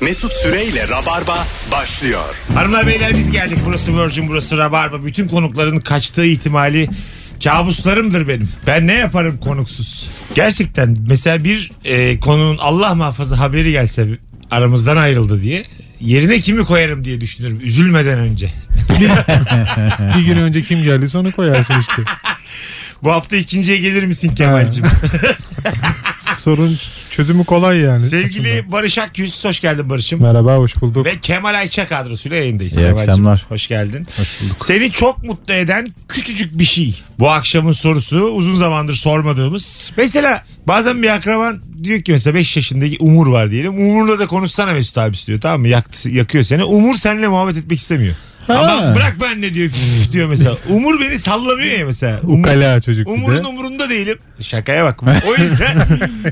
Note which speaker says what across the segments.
Speaker 1: Mesut Süreyle Rabarba başlıyor.
Speaker 2: Hanımlar beyler biz geldik. Burası Virgin, burası Rabarba. Bütün konukların kaçtığı ihtimali kabuslarımdır benim. Ben ne yaparım konuksuz? Gerçekten mesela bir e, konunun Allah muhafaza haberi gelse aramızdan ayrıldı diye yerine kimi koyarım diye düşünürüm üzülmeden önce.
Speaker 3: Bir gün önce kim geldiyse onu koyarsın işte.
Speaker 2: Bu hafta ikinciye gelir misin Kemal'cim?
Speaker 3: Sorun çözümü kolay yani.
Speaker 2: Sevgili Barış Akgüz hoş geldin Barış'ım.
Speaker 3: Merhaba hoş bulduk.
Speaker 2: Ve Kemal Ayça kadrosuyla yayındayız.
Speaker 4: İyi
Speaker 2: Kemal'cim.
Speaker 4: akşamlar.
Speaker 2: Hoş geldin.
Speaker 4: Hoş bulduk.
Speaker 2: Seni çok mutlu eden küçücük bir şey. Bu akşamın sorusu uzun zamandır sormadığımız. Mesela bazen bir akraban diyor ki mesela 5 yaşındaki Umur var diyelim. Umur'la da konuşsana Mesut abi diyor tamam mı? Yaktı, yakıyor seni. Umur seninle muhabbet etmek istemiyor. Ama bırak ben ne diyor "Üf" diyor mesela. Umur beni sallamıyor ya mesela. Umur-
Speaker 3: Ukala çocuk bir de.
Speaker 2: Umur'un umurunda değilim. Şakaya bak. O yüzden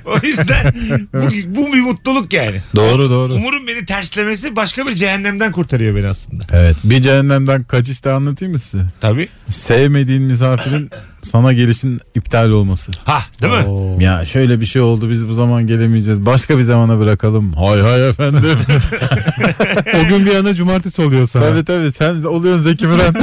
Speaker 2: o yüzden bu, bu bir mutluluk yani.
Speaker 4: Doğru doğru.
Speaker 2: Umur'un beni terslemesi başka bir cehennemden kurtarıyor beni aslında.
Speaker 4: Evet. Bir cehennemden kaçış da anlatayım mı size?
Speaker 2: Tabii.
Speaker 4: Sevmediğin misafirin sana gelişin iptal olması.
Speaker 2: Ha, değil mi?
Speaker 3: Oo.
Speaker 4: Ya şöyle bir şey oldu biz bu zaman gelemeyeceğiz. Başka bir zamana bırakalım. Hay hay efendim.
Speaker 3: O gün bir anda cumartesi oluyor sana.
Speaker 4: tabii tabii sen oluyorsun Zeki Müren.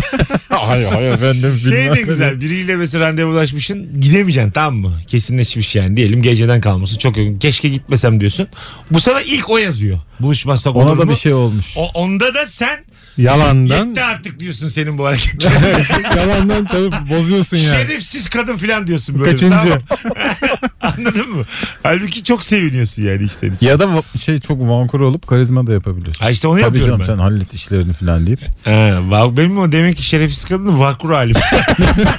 Speaker 4: hay hay efendim.
Speaker 2: Şey
Speaker 4: bilmem
Speaker 2: de güzel biriyle mesela randevulaşmışsın gidemeyeceksin tamam mı? Kesinleşmiş yani diyelim geceden kalmışsın çok yakın. keşke gitmesem diyorsun. Bu sana ilk o yazıyor buluşmazsak
Speaker 4: ne. Ona
Speaker 2: olur
Speaker 4: da
Speaker 2: mu?
Speaker 4: bir şey olmuş.
Speaker 2: O, onda da sen
Speaker 3: Yalandan.
Speaker 2: yetti artık diyorsun senin bu hareket.
Speaker 3: yalandan tabii bozuyorsun yani.
Speaker 2: Şerefsiz kadın falan diyorsun böyle.
Speaker 3: Kaçıncı?
Speaker 2: Tamam. Anladın mı? Halbuki çok seviniyorsun yani işte.
Speaker 4: Ya da va- şey çok vankur olup karizma da yapabiliyorsun.
Speaker 2: Ha işte onu
Speaker 4: Tabii
Speaker 2: yapıyorum
Speaker 4: canım sen hallet işlerini falan deyip.
Speaker 2: ben. Ha, va- benim o demek ki şerefsiz kadın vakur halim.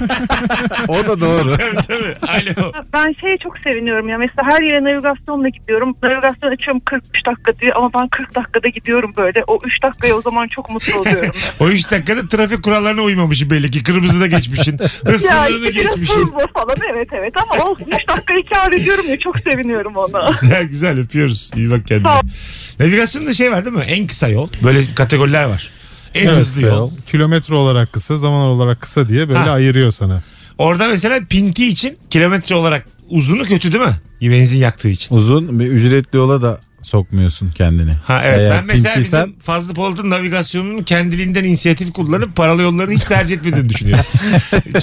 Speaker 4: o da doğru.
Speaker 2: tabii tabii. Alo.
Speaker 5: Ben şeye çok seviniyorum ya mesela her yere navigasyonla gidiyorum. Navigasyon açıyorum 43 dakika diyor ama ben 40 dakikada gidiyorum böyle. O 3 dakikaya o zaman çok mutlu oluyorum.
Speaker 2: O 3 dakikada trafik kurallarına uymamışsın belli ki. Kırmızıda geçmişsin. Hız
Speaker 5: ya
Speaker 2: sınırını
Speaker 5: işte biraz
Speaker 2: geçmişsin.
Speaker 5: hızlı falan evet evet ama olsun 3 dakikayı kar ediyorum ya çok seviniyorum ona.
Speaker 2: Güzel güzel öpüyoruz. İyi bak kendine.
Speaker 5: Sağ ol.
Speaker 2: Navigasyonda şey var değil mi? En kısa yol. Böyle kategoriler var. En
Speaker 3: Evet,
Speaker 2: hızlı yol.
Speaker 3: Kilometre olarak kısa, zaman olarak kısa diye böyle
Speaker 2: Ha.
Speaker 3: ayırıyor sana.
Speaker 2: Orada mesela pinti için kilometre olarak uzunu kötü değil mi? Benzin yaktığı için.
Speaker 4: Uzun bir ücretli yola da sokmuyorsun kendini.
Speaker 2: Ha evet
Speaker 4: Eğer
Speaker 2: ben mesela
Speaker 4: pintiysen-
Speaker 2: bizim Fazlı Polat'ın navigasyonunun kendiliğinden inisiyatif kullanıp paralı yollarını hiç tercih etmediğini düşünüyorum.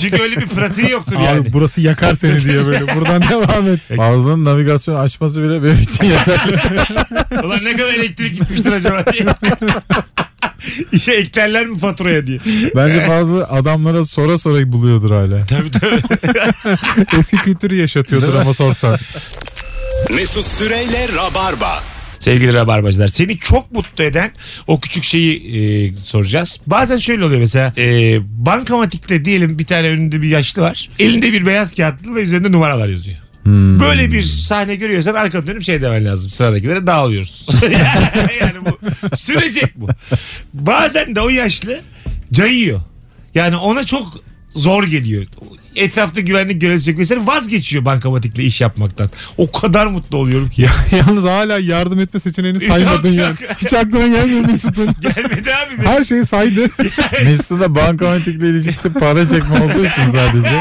Speaker 2: Çünkü öyle bir pratiği yoktur
Speaker 3: Abi
Speaker 2: yani.
Speaker 3: burası yakar seni diye böyle buradan devam et.
Speaker 4: Fazla'nın navigasyon açması bile benim için yeterli.
Speaker 2: Ulan ne kadar elektrik gitmiştir acaba diye. İşe eklerler mi faturaya diye.
Speaker 4: Bence fazla adamlara sora sora buluyordur hala.
Speaker 2: Tabii tabii.
Speaker 3: Eski kültürü yaşatıyordur ama sorsan.
Speaker 1: Mesut Süreyle Rabarba.
Speaker 2: Sevgili Rabarbacılar seni çok mutlu eden o küçük şeyi e, soracağız. Bazen şöyle oluyor mesela e, bankamatikte diyelim bir tane önünde bir yaşlı var. Elinde bir beyaz kağıtlı ve üzerinde numaralar yazıyor. Böyle bir sahne görüyorsan arkana dönüp şey demen lazım. Sıradakilere dağılıyoruz. yani bu sürecek bu. Bazen de o yaşlı cayıyor. Yani ona çok zor geliyor. Etrafta güvenlik görevlisi yok. Mesela vazgeçiyor bankamatikle iş yapmaktan. O kadar mutlu oluyorum ki.
Speaker 3: Ya, yalnız hala yardım etme seçeneğini saymadın
Speaker 2: Yok,
Speaker 3: ya.
Speaker 2: yok.
Speaker 3: Hiç aklına gelmiyor Mesut'un.
Speaker 2: Gelmedi abi. benim.
Speaker 3: Her şeyi saydı.
Speaker 4: Mesut'un da bankamatikle ilişkisi para çekme olduğu için sadece.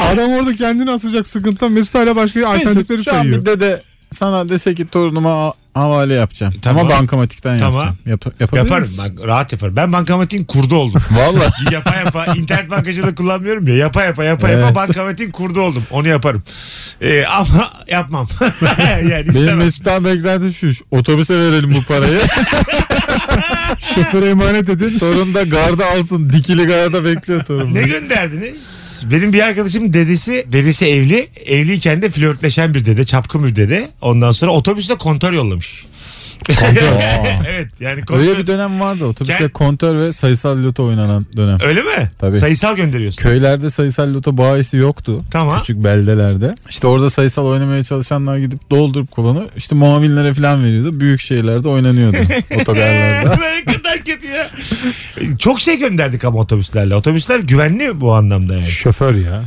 Speaker 3: Adam orada kendini asacak sıkıntıdan. Mesut hala başka alternatifleri
Speaker 4: Mesut şu an
Speaker 3: sayıyor.
Speaker 4: bir dede sana dese ki torunuma ha- havale yapacağım.
Speaker 2: Tamam.
Speaker 4: Ama bankamatikten
Speaker 2: Tamam.
Speaker 4: yapsam. Yap- yapabilir
Speaker 2: Yaparım
Speaker 4: misin?
Speaker 2: bak rahat yaparım. Ben bankamatiğin kurdu oldum.
Speaker 4: Valla.
Speaker 2: yapa yapa internet bankacılığı kullanmıyorum ya. Yapa yapa yapa yapa
Speaker 4: Evet.
Speaker 2: bankamatiğin kurdu oldum. Onu yaparım. Ee, ama yapmam. yani
Speaker 4: Benim
Speaker 2: istemem.
Speaker 4: Mesut'tan beklentim şu. şu, Otobüse verelim bu parayı.
Speaker 3: Şoföre emanet edin.
Speaker 4: Torun da garda alsın. Dikili garda bekliyor torun.
Speaker 2: Ne gönderdiniz? Benim bir arkadaşım dedesi, dedesi evli. Evliyken de flörtleşen bir dede, çapkın bir dede. Ondan sonra otobüste kontör yollamış.
Speaker 4: Kontör.
Speaker 2: evet yani kontör.
Speaker 4: Öyle bir dönem vardı otobüste
Speaker 2: Gel-
Speaker 4: kontör ve sayısal loto oynanan dönem.
Speaker 2: Öyle mi?
Speaker 4: Tabii.
Speaker 2: Sayısal gönderiyorsun.
Speaker 4: Köylerde sayısal loto bahisi yoktu.
Speaker 2: Tamam.
Speaker 4: Küçük beldelerde. İşte orada sayısal oynamaya çalışanlar gidip doldurup kuponu işte muavinlere falan veriyordu. Büyük şehirlerde oynanıyordu otogarlarda.
Speaker 2: ne kadar kötü ya. Çok şey gönderdik ama otobüslerle. Otobüsler güvenli bu anlamda yani.
Speaker 3: Şoför ya.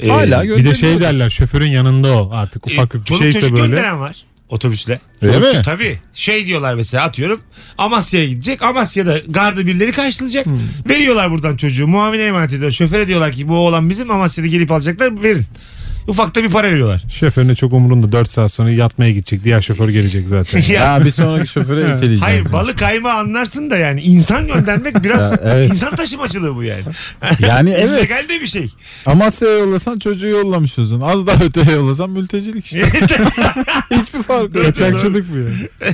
Speaker 2: Ee,
Speaker 4: Hala
Speaker 3: Bir de şey
Speaker 4: gönderiyoruz.
Speaker 3: derler şoförün yanında o artık ufak
Speaker 2: e,
Speaker 3: bir
Speaker 2: çoluk
Speaker 3: şeyse
Speaker 2: çocuk
Speaker 3: böyle.
Speaker 2: gönderen var otobüsle.
Speaker 4: şey Öyle
Speaker 2: Çoluk-
Speaker 4: mi?
Speaker 2: Tabii. Şey diyorlar mesela atıyorum Amasya'ya gidecek. Amasya'da garda birileri karşılayacak.
Speaker 4: Hmm.
Speaker 2: Veriyorlar buradan çocuğu. Muavine emanet ediyor. Şoföre diyorlar ki bu oğlan bizim Amasya'da gelip alacaklar verin. Ufakta bir para veriyorlar.
Speaker 3: Şoförüne çok umurunda 4 saat sonra yatmaya gidecek. Diğer şoför gelecek zaten.
Speaker 2: ya,
Speaker 4: Ha, bir sonraki şoföre iteleyeceğim.
Speaker 2: hayır balık kayma anlarsın da yani insan göndermek biraz
Speaker 4: Ya, evet.
Speaker 2: insan taşımacılığı bu yani.
Speaker 4: Yani evet
Speaker 2: Legal de bir şey.
Speaker 4: Amasya'ya yollasan çocuğu yollamış olsun. Az daha öteye yollasan mültecilik işte. Hiçbir farkı yok.
Speaker 3: Kaçakçılık bu ya.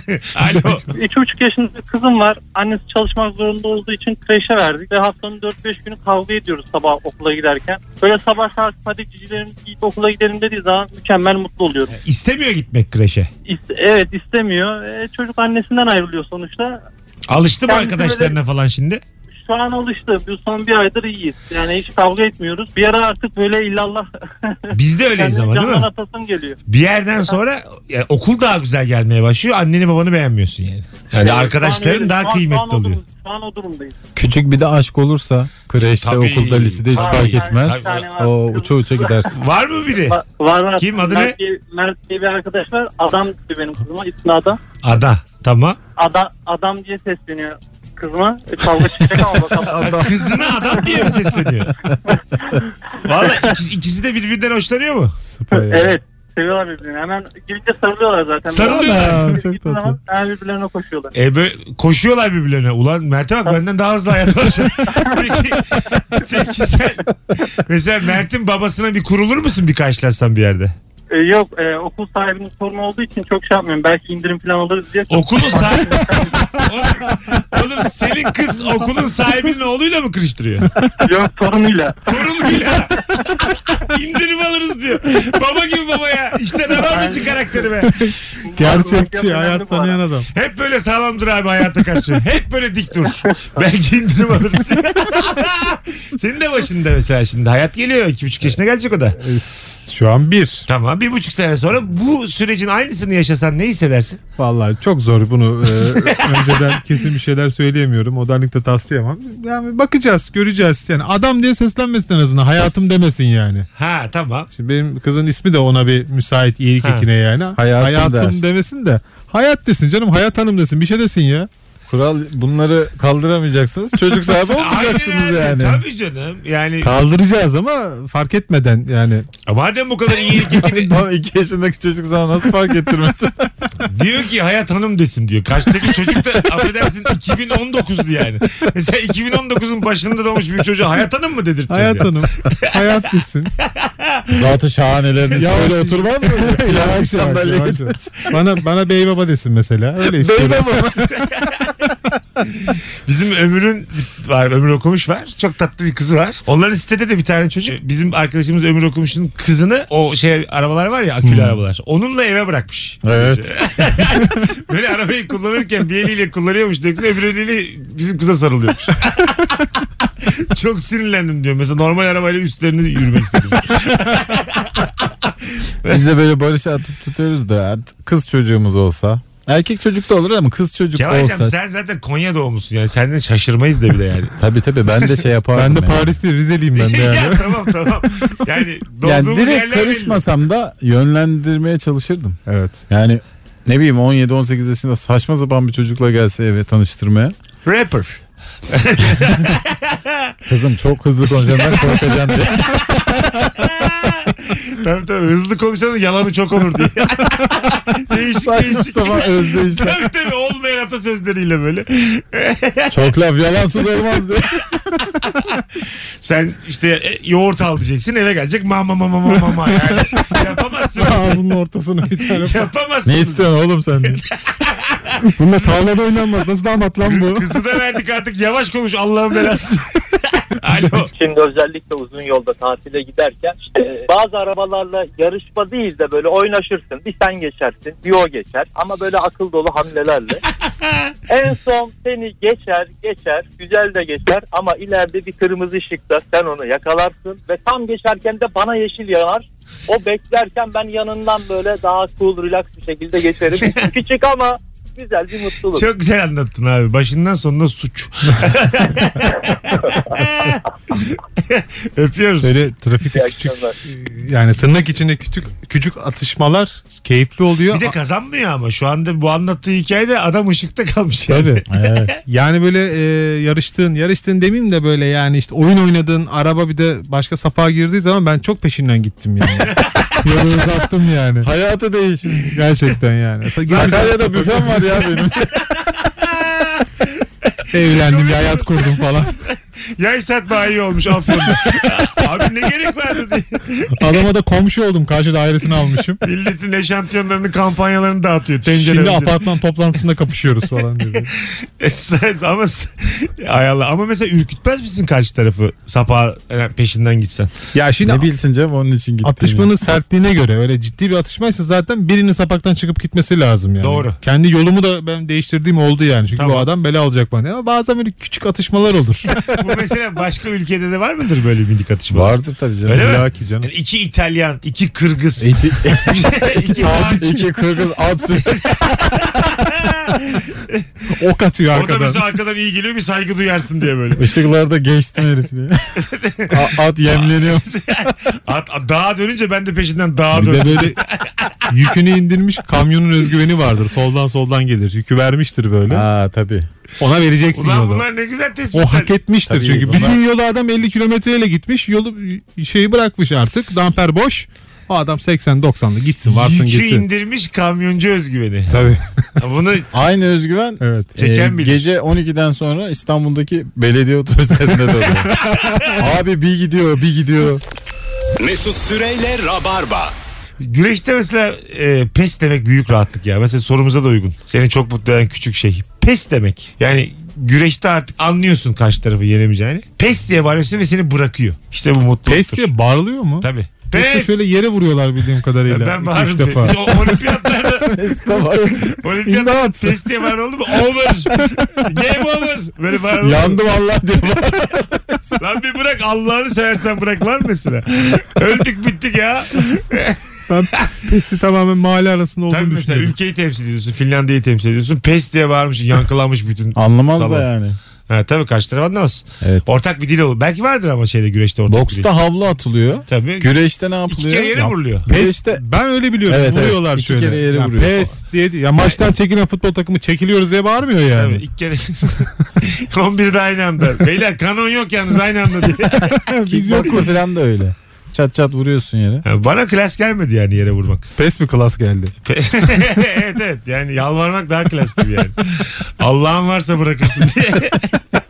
Speaker 2: Alo.
Speaker 6: İki buçuk yaşında kızım var. Annesi çalışmak zorunda olduğu için kreşe verdik. Ve haftanın 4-5 günü kavga ediyoruz sabah okula giderken. Böyle sabah saat hadi cicilerim ilk okula gidelim dediği zaman mükemmel mutlu oluyoruz.
Speaker 2: İstemiyor gitmek kreşe.
Speaker 6: İst- evet istemiyor. E, çocuk annesinden ayrılıyor sonuçta.
Speaker 2: Alıştı mı
Speaker 6: Yani
Speaker 2: arkadaşlarına falan şimdi?
Speaker 6: Şu an alıştı. Bu son bir aydır iyiyiz. Yani hiç kavga etmiyoruz. Bir ara artık böyle illallah
Speaker 2: Biz de öyleyiz ama değil
Speaker 6: candan
Speaker 2: mi?
Speaker 6: atasım geliyor.
Speaker 2: Bir yerden sonra ya, okul daha güzel gelmeye başlıyor. Anneni babanı beğenmiyorsun yani. Yani arkadaşların
Speaker 6: Şu an
Speaker 2: daha
Speaker 6: öyle- şu an- şu an
Speaker 2: kıymetli
Speaker 6: o
Speaker 2: oluyor.
Speaker 6: durum- Şu an o durumdayız.
Speaker 4: Küçük bir de aşk olursa kreşte,
Speaker 2: Tabii.
Speaker 4: okulda, lisede hiç
Speaker 2: Tabii.
Speaker 4: fark
Speaker 6: Yani bir
Speaker 4: etmez.
Speaker 6: tane var.
Speaker 4: O uça uça gidersin.
Speaker 2: Var mı biri?
Speaker 6: Va- Var var.
Speaker 2: Kim? Adı
Speaker 6: Mert diye- Mert diye bir arkadaş var. Adam diyor benim kızıma. İsmi Adam.
Speaker 2: Ada. Tamam.
Speaker 6: Ada, adam diye sesleniyor kızıma. E, Kavga çıkacak ama bakalım.
Speaker 2: Kızına adam diye mi sesleniyor? Valla ikisi, ikisi de birbirinden hoşlanıyor mu?
Speaker 3: Süper ya.
Speaker 6: evet. Seviyorlar birbirini. Hemen girince sarılıyorlar zaten.
Speaker 2: Sarılıyorlar.
Speaker 4: Aa,
Speaker 6: Gittiği
Speaker 4: çok tatlı.
Speaker 6: zaman Hemen birbirlerine koşuyorlar.
Speaker 2: E böyle koşuyorlar birbirlerine. Ulan Mert'e bak benden daha hızlı hayat var. peki, peki sen mesela Mert'in babasına bir kurulur musun bir karşılaşsan bir yerde?
Speaker 6: E, yok e, okul sahibinin sorunu olduğu için çok şey yapmıyorum. Belki indirim falan alırız diye.
Speaker 2: Okulun sahibi. oğlum, oğlum senin kız okulun sahibinin oğluyla mı kırıştırıyor?
Speaker 6: yok sorunuyla.
Speaker 2: Torunuyla. İndirim alırız diyor. Baba gibi baba ya. İşte ne var mıcı karakteri be.
Speaker 3: Gerçekçi hayat tanıyan adam.
Speaker 2: Hep böyle sağlam dur abi hayata karşı. Hep böyle dik dur. Belki indirim alırız. Senin de başında mesela şimdi hayat geliyor. iki buçuk yaşına gelecek o da.
Speaker 3: E, s- Şu an bir.
Speaker 2: Tamam bir buçuk sene sonra bu sürecin aynısını yaşasan ne hissedersin?
Speaker 3: Vallahi çok zor bunu e, önceden kesin bir şeyler söyleyemiyorum. Modernlikte taslayamam. Yani bakacağız, göreceğiz. Yani adam diye seslenmesin en azından. Hayatım demesin yani.
Speaker 2: Ha tamam.
Speaker 3: Şimdi benim kızın ismi de ona bir müsait iyilik
Speaker 2: Ha.
Speaker 3: ekine yani.
Speaker 4: Hayatım der.
Speaker 3: demesin de. Hayat desin canım. Hayat hanım desin. Bir şey desin ya.
Speaker 4: Kural bunları kaldıramayacaksınız. Çocuk sahibi olmayacaksınız
Speaker 2: Aynen öyle.
Speaker 4: yani.
Speaker 2: Tabii canım. Yani
Speaker 3: Kaldıracağız ama fark etmeden yani.
Speaker 2: madem bu kadar iyilik ekini
Speaker 4: Ama iki yaşındaki çocuk sana nasıl fark ettirmez?
Speaker 2: diyor ki hayat hanım desin diyor. Karşıdaki çocuk da affedersin 2019'du yani. Mesela 2019'un başında doğmuş bir çocuğa hayat hanım mı dedirteceğiz?
Speaker 3: Hayat
Speaker 2: ya?
Speaker 3: hanım. hayat desin.
Speaker 4: Zatı şahaneleriniz şöyle oturmaz mı? Plastik
Speaker 3: Yavaş yavaş,
Speaker 4: sandalyeye
Speaker 3: yavaş yavaş. bana, bana bey baba desin mesela. Öyle istiyorum.
Speaker 4: Beybe baba.
Speaker 2: Bizim Ömür'ün var Ömür Okumuş var. Çok tatlı bir kızı var. Onların sitede de bir tane çocuk. Bizim arkadaşımız Ömür Okumuş'un kızını o şey arabalar var ya
Speaker 3: Hmm.
Speaker 2: akülü arabalar. Onunla eve bırakmış.
Speaker 4: Evet.
Speaker 2: Böyle arabayı kullanırken bir eliyle kullanıyormuş diyor. Öbür eliyle bizim kıza sarılıyormuş. Çok sinirlendim diyor. Mesela normal arabayla üstlerini yürümek istedim.
Speaker 4: Biz de böyle barışa atıp tutuyoruz da artık kız çocuğumuz olsa. Erkek çocuk da olur ama kız çocuk
Speaker 2: Kemal'cim
Speaker 4: olsa.
Speaker 2: sen zaten Konya doğumlusun yani. Senden şaşırmayız da bir de yani.
Speaker 4: Tabii tabii ben de şey yapardım.
Speaker 3: Ben de
Speaker 4: yani.
Speaker 3: Parisli Rizeliyim ben de yani.
Speaker 2: ya tamam tamam. Yani
Speaker 4: Yani
Speaker 2: doğduğumuz yerler
Speaker 4: direkt
Speaker 2: belli.
Speaker 4: karışmasam da yönlendirmeye çalışırdım.
Speaker 3: evet.
Speaker 4: Yani ne bileyim 17-18 yaşında saçma sapan bir çocukla gelse eve tanıştırmaya.
Speaker 2: Rapper.
Speaker 4: Kızım çok hızlı konuşacağım ben korkacağım diye.
Speaker 2: Tabii tabii hızlı konuşanın yalanı çok olur diye. değişik
Speaker 4: Saçma
Speaker 2: değişik.
Speaker 4: sapan özdeyişler.
Speaker 2: tabii tabii olmayan atasözleriyle böyle.
Speaker 4: Çok laf yalansız olmaz diye.
Speaker 2: Sen işte e, yoğurt al diyeceksin eve gelecek mama mama mama mama yani. Yapamazsın.
Speaker 3: Ağzının ortasına bir tane.
Speaker 2: Yapamazsın.
Speaker 4: Ne istiyorsun oğlum sen diye.
Speaker 3: Bunda sağlada oynanmaz. Nasıl damat lan bu?
Speaker 2: Kızı da verdik artık yavaş konuş Allah'ın belası. Alo.
Speaker 7: Şimdi özellikle uzun yolda tatile giderken işte bazı arabalarla yarışma değil de böyle oynaşırsın. Bir sen geçersin, bir o geçer ama böyle akıl dolu hamlelerle. en son seni geçer, geçer, güzel de geçer ama ileride bir kırmızı ışıkta sen onu yakalarsın ve tam geçerken de bana yeşil yanar. O beklerken ben yanından böyle daha cool, relax bir şekilde geçerim. Küçük ama güzel bir mutluluk.
Speaker 2: Çok güzel anlattın abi. Başından sonuna suç. Öpüyoruz.
Speaker 3: Böyle trafikte
Speaker 7: İyi
Speaker 3: küçük
Speaker 7: akşamlar.
Speaker 3: yani tırnak içinde küçük küçük atışmalar keyifli oluyor.
Speaker 2: Bir de kazanmıyor ama şu anda bu anlattığı hikayede adam ışıkta kalmış. Yani.
Speaker 3: Tabii.
Speaker 4: Evet.
Speaker 3: Yani böyle e, yarıştığın, yarıştığın demeyeyim de böyle yani işte oyun oynadığın araba bir de başka sapığa girdiği zaman ben çok peşinden gittim yani. Yolu uzattım yani.
Speaker 4: Hayatı değişmiş.
Speaker 3: Gerçekten yani.
Speaker 4: Sakarya'da büfem var ya benim.
Speaker 3: Evlendim bir hayat kurdum falan.
Speaker 2: Yay satma iyi olmuş Afyon'da. Abi ne gerek vardı diye.
Speaker 3: Adama da komşu oldum. Karşı dairesini almışım.
Speaker 2: Milletin eşantiyanlarını kampanyalarını dağıtıyor. Tencere
Speaker 3: Şimdi apartman toplantısında kapışıyoruz falan dedi.
Speaker 2: ama ay Allah. ama mesela ürkütmez misin karşı tarafı sapa peşinden gitsen?
Speaker 3: Ya
Speaker 4: ne bilsin Cem onun için gittiğini.
Speaker 3: Atışmanın sertliğine göre öyle ciddi bir atışmaysa zaten birinin sapaktan çıkıp gitmesi lazım yani.
Speaker 2: Doğru.
Speaker 3: Kendi yolumu da ben değiştirdiğim oldu yani. Çünkü
Speaker 2: Tamam.
Speaker 3: bu adam bela alacak bana. Ama bazen böyle küçük atışmalar olur.
Speaker 2: Bu mesela başka ülkede de var mıdır böyle minik atışma?
Speaker 4: Vardır tabii canım.
Speaker 2: Öyle mi?
Speaker 4: İlla ki canım.
Speaker 2: Yani iki İtalyan, iki Kırgız,
Speaker 4: İki,
Speaker 2: iki Tacik.
Speaker 4: iki kırgız at sürüyor.
Speaker 3: ok atıyor
Speaker 2: O da
Speaker 3: arkadan.
Speaker 2: bize arkadan iyi geliyor bir saygı duyarsın diye böyle.
Speaker 4: Işıklarda geçtim herif diye. A- at yemleniyor.
Speaker 2: At, at- dağa dönünce ben de peşinden dağa
Speaker 3: Bir de
Speaker 2: dön.
Speaker 3: böyle yükünü indirmiş kamyonun özgüveni vardır. Soldan soldan gelir. Yükü vermiştir böyle.
Speaker 4: ha tabii.
Speaker 3: Ona vereceksin
Speaker 2: Ulan
Speaker 3: yolu.
Speaker 2: bunlar ne güzel
Speaker 3: O
Speaker 2: tespitler.
Speaker 3: hak etmiştir
Speaker 4: Tabii
Speaker 3: çünkü.
Speaker 4: bunlar-
Speaker 3: Bütün yolu adam 50 kilometreyle gitmiş. Yolu şeyi bırakmış artık. Damper boş. O adam 80-90'lı gitsin varsın
Speaker 2: Yükü
Speaker 3: gitsin.
Speaker 2: indirmiş kamyoncu özgüveni.
Speaker 3: Tabii.
Speaker 2: Ya Bunu
Speaker 4: Aynı özgüven
Speaker 3: Evet.
Speaker 2: Çeken
Speaker 4: e,
Speaker 2: bilir.
Speaker 4: gece 12'den sonra İstanbul'daki belediye otobüslerinde de oluyor. Abi bir gidiyor bir gidiyor.
Speaker 1: Mesut Süreyle Rabarba.
Speaker 2: güreşte mesela e, pes demek büyük rahatlık ya. Mesela sorumuza da uygun. Seni çok mutlu eden küçük şey. Pes demek. Yani güreşte artık anlıyorsun karşı tarafı yenemeyeceğini. Pes diye bağırıyorsun ve seni bırakıyor. İşte bu mutluluktur.
Speaker 3: Pes diye bağırılıyor mu?
Speaker 2: Tabii.
Speaker 3: Yoksa
Speaker 2: Pes.
Speaker 3: şöyle yere vuruyorlar bildiğim kadarıyla.
Speaker 2: ben
Speaker 3: İki,
Speaker 2: bağırdım.
Speaker 3: üç defa.
Speaker 2: Biz o- olimpiyatlarda
Speaker 4: Mesut'a bak.
Speaker 2: olimpiyatlarda pes diye bağırıyor oldu mu? Over. Game over. Böyle bağırıyor.
Speaker 4: Yandım Allah diyor.
Speaker 2: Lan bir bırak Allah'ını seversen bırak lan mesela. Öldük bittik ya.
Speaker 3: Ben pesi tamamen mahalle arasında olduğunu
Speaker 2: Tabii
Speaker 4: şey
Speaker 2: mesela
Speaker 3: düşünüyorum.
Speaker 2: ülkeyi temsil ediyorsun. Finlandiya'yı temsil ediyorsun. Pes diye bağırmışsın. Yankılanmış bütün.
Speaker 4: Anlamaz
Speaker 2: Sabah.
Speaker 4: da yani.
Speaker 2: Ha, tabii karşı taraf anlamaz.
Speaker 4: Evet.
Speaker 2: Ortak bir dil olur. Belki vardır ama şeyde güreşte ortak bir dil.
Speaker 4: Boksta havlu atılıyor.
Speaker 2: Tabii.
Speaker 4: Güreşte ne yapılıyor?
Speaker 2: İki kere yere vuruluyor.
Speaker 4: Güreşte
Speaker 3: Ben öyle biliyorum.
Speaker 4: Evet, evet.
Speaker 3: vuruyorlar
Speaker 4: İki
Speaker 3: şöyle.
Speaker 4: kere yere
Speaker 3: Ya
Speaker 4: vuruyor
Speaker 3: Pes diye. Ya maçtan çekilen futbol takımı çekiliyoruz diye bağırmıyor
Speaker 2: Tabii
Speaker 3: yani.
Speaker 2: ilk kere 11'de aynı anda. Beyler kanon yok yalnız aynı anda diye.
Speaker 3: Biz yokuz.
Speaker 4: kickboksta falan da öyle. Çat çat vuruyorsun yere.
Speaker 2: Ha, Bana klas gelmedi yani yere vurmak.
Speaker 3: Pes mi klas geldi?
Speaker 2: evet evet yani yalvarmak daha klas gibi yani. Allah'ın varsa bırakırsın diye.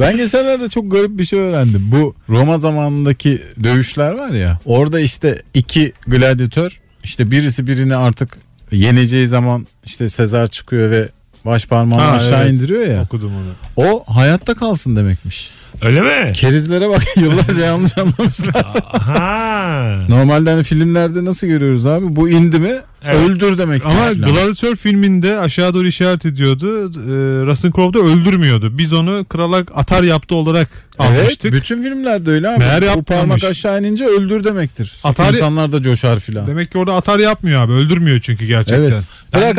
Speaker 4: Ben geçenlerde çok garip bir şey öğrendim. Bu Roma zamanındaki dövüşler var ya. Orada işte iki gladyatör işte birisi birini artık yeneceği zaman işte Sezar çıkıyor ve baş parmağını
Speaker 3: Ha,
Speaker 4: aşağı
Speaker 3: evet.
Speaker 4: indiriyor ya.
Speaker 3: Okudum onu.
Speaker 4: O hayatta kalsın demekmiş.
Speaker 2: Öyle mi?
Speaker 4: Kerizlere bak yıllarca yanlış anlamışlar.
Speaker 2: Ha.
Speaker 4: Normalde hani filmlerde nasıl görüyoruz abi? Bu indi mi
Speaker 2: Evet.
Speaker 4: öldür demek.
Speaker 3: Ama Gladiator filminde aşağı doğru işaret ediyordu. Ee, Russell Crowe da öldürmüyordu. Biz onu kralak atar yaptı olarak
Speaker 4: Evet,
Speaker 3: almıştık.
Speaker 4: bütün filmlerde öyle abi.
Speaker 3: Meğer
Speaker 4: Bu
Speaker 3: yapmamış.
Speaker 4: parmak aşağı inince öldür demektir.
Speaker 3: Atari-
Speaker 4: İnsanlar da coşar filan.
Speaker 3: Demek ki orada atar yapmıyor abi. Öldürmüyor çünkü gerçekten.
Speaker 4: Evet. Bırak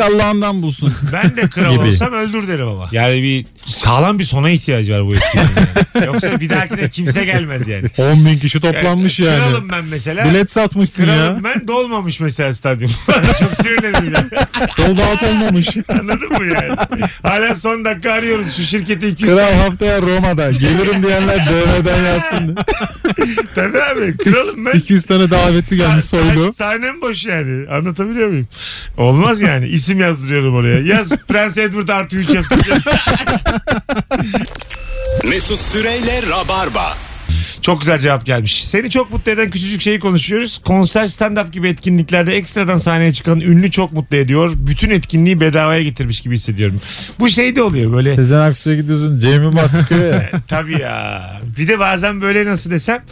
Speaker 4: Allah'ından bulsun.
Speaker 2: Ben de kral
Speaker 4: Gibi.
Speaker 2: olsam öldür derim ama. Yani bir sağlam bir sona ihtiyacı var bu etkinliğin. yani. Yoksa bir dahakine kimse gelmez yani.
Speaker 3: 10 bin kişi toplanmış yani.
Speaker 2: Kralım ben mesela.
Speaker 3: Bilet satmışsın
Speaker 2: Kralım
Speaker 3: ya.
Speaker 2: ben dolmamış mesela stadyum. Çok sinirlendim ya.
Speaker 3: Sold out olmamış.
Speaker 2: Anladın mı yani? Hala son dakika arıyoruz şu şirketi 200
Speaker 4: Kral haftaya Roma'da. Gelirim diyenler dövmeden yazsın.
Speaker 2: tabii abi. Kralım ben.
Speaker 3: 200 tane davetli gelmiş soylu.
Speaker 2: Sa- Sahnem boş yani. Anlatabiliyor muyum? Olmaz yani. İsim yazdırıyorum oraya. Yaz Prens Edward artı 3 yaz.
Speaker 1: Mesut Süreyle Rabarba.
Speaker 2: Çok güzel cevap gelmiş. Seni çok mutlu eden küçücük şeyi konuşuyoruz. Konser stand-up gibi etkinliklerde ekstradan sahneye çıkan ünlü çok mutlu ediyor. Bütün etkinliği bedavaya getirmiş gibi hissediyorum. Bu şey de oluyor böyle. E,
Speaker 4: Sezen Aksu'ya gidiyorsun. Cem Yılmaz çıkıyor ya.
Speaker 2: Tabii ya. Bir de bazen böyle nasıl desem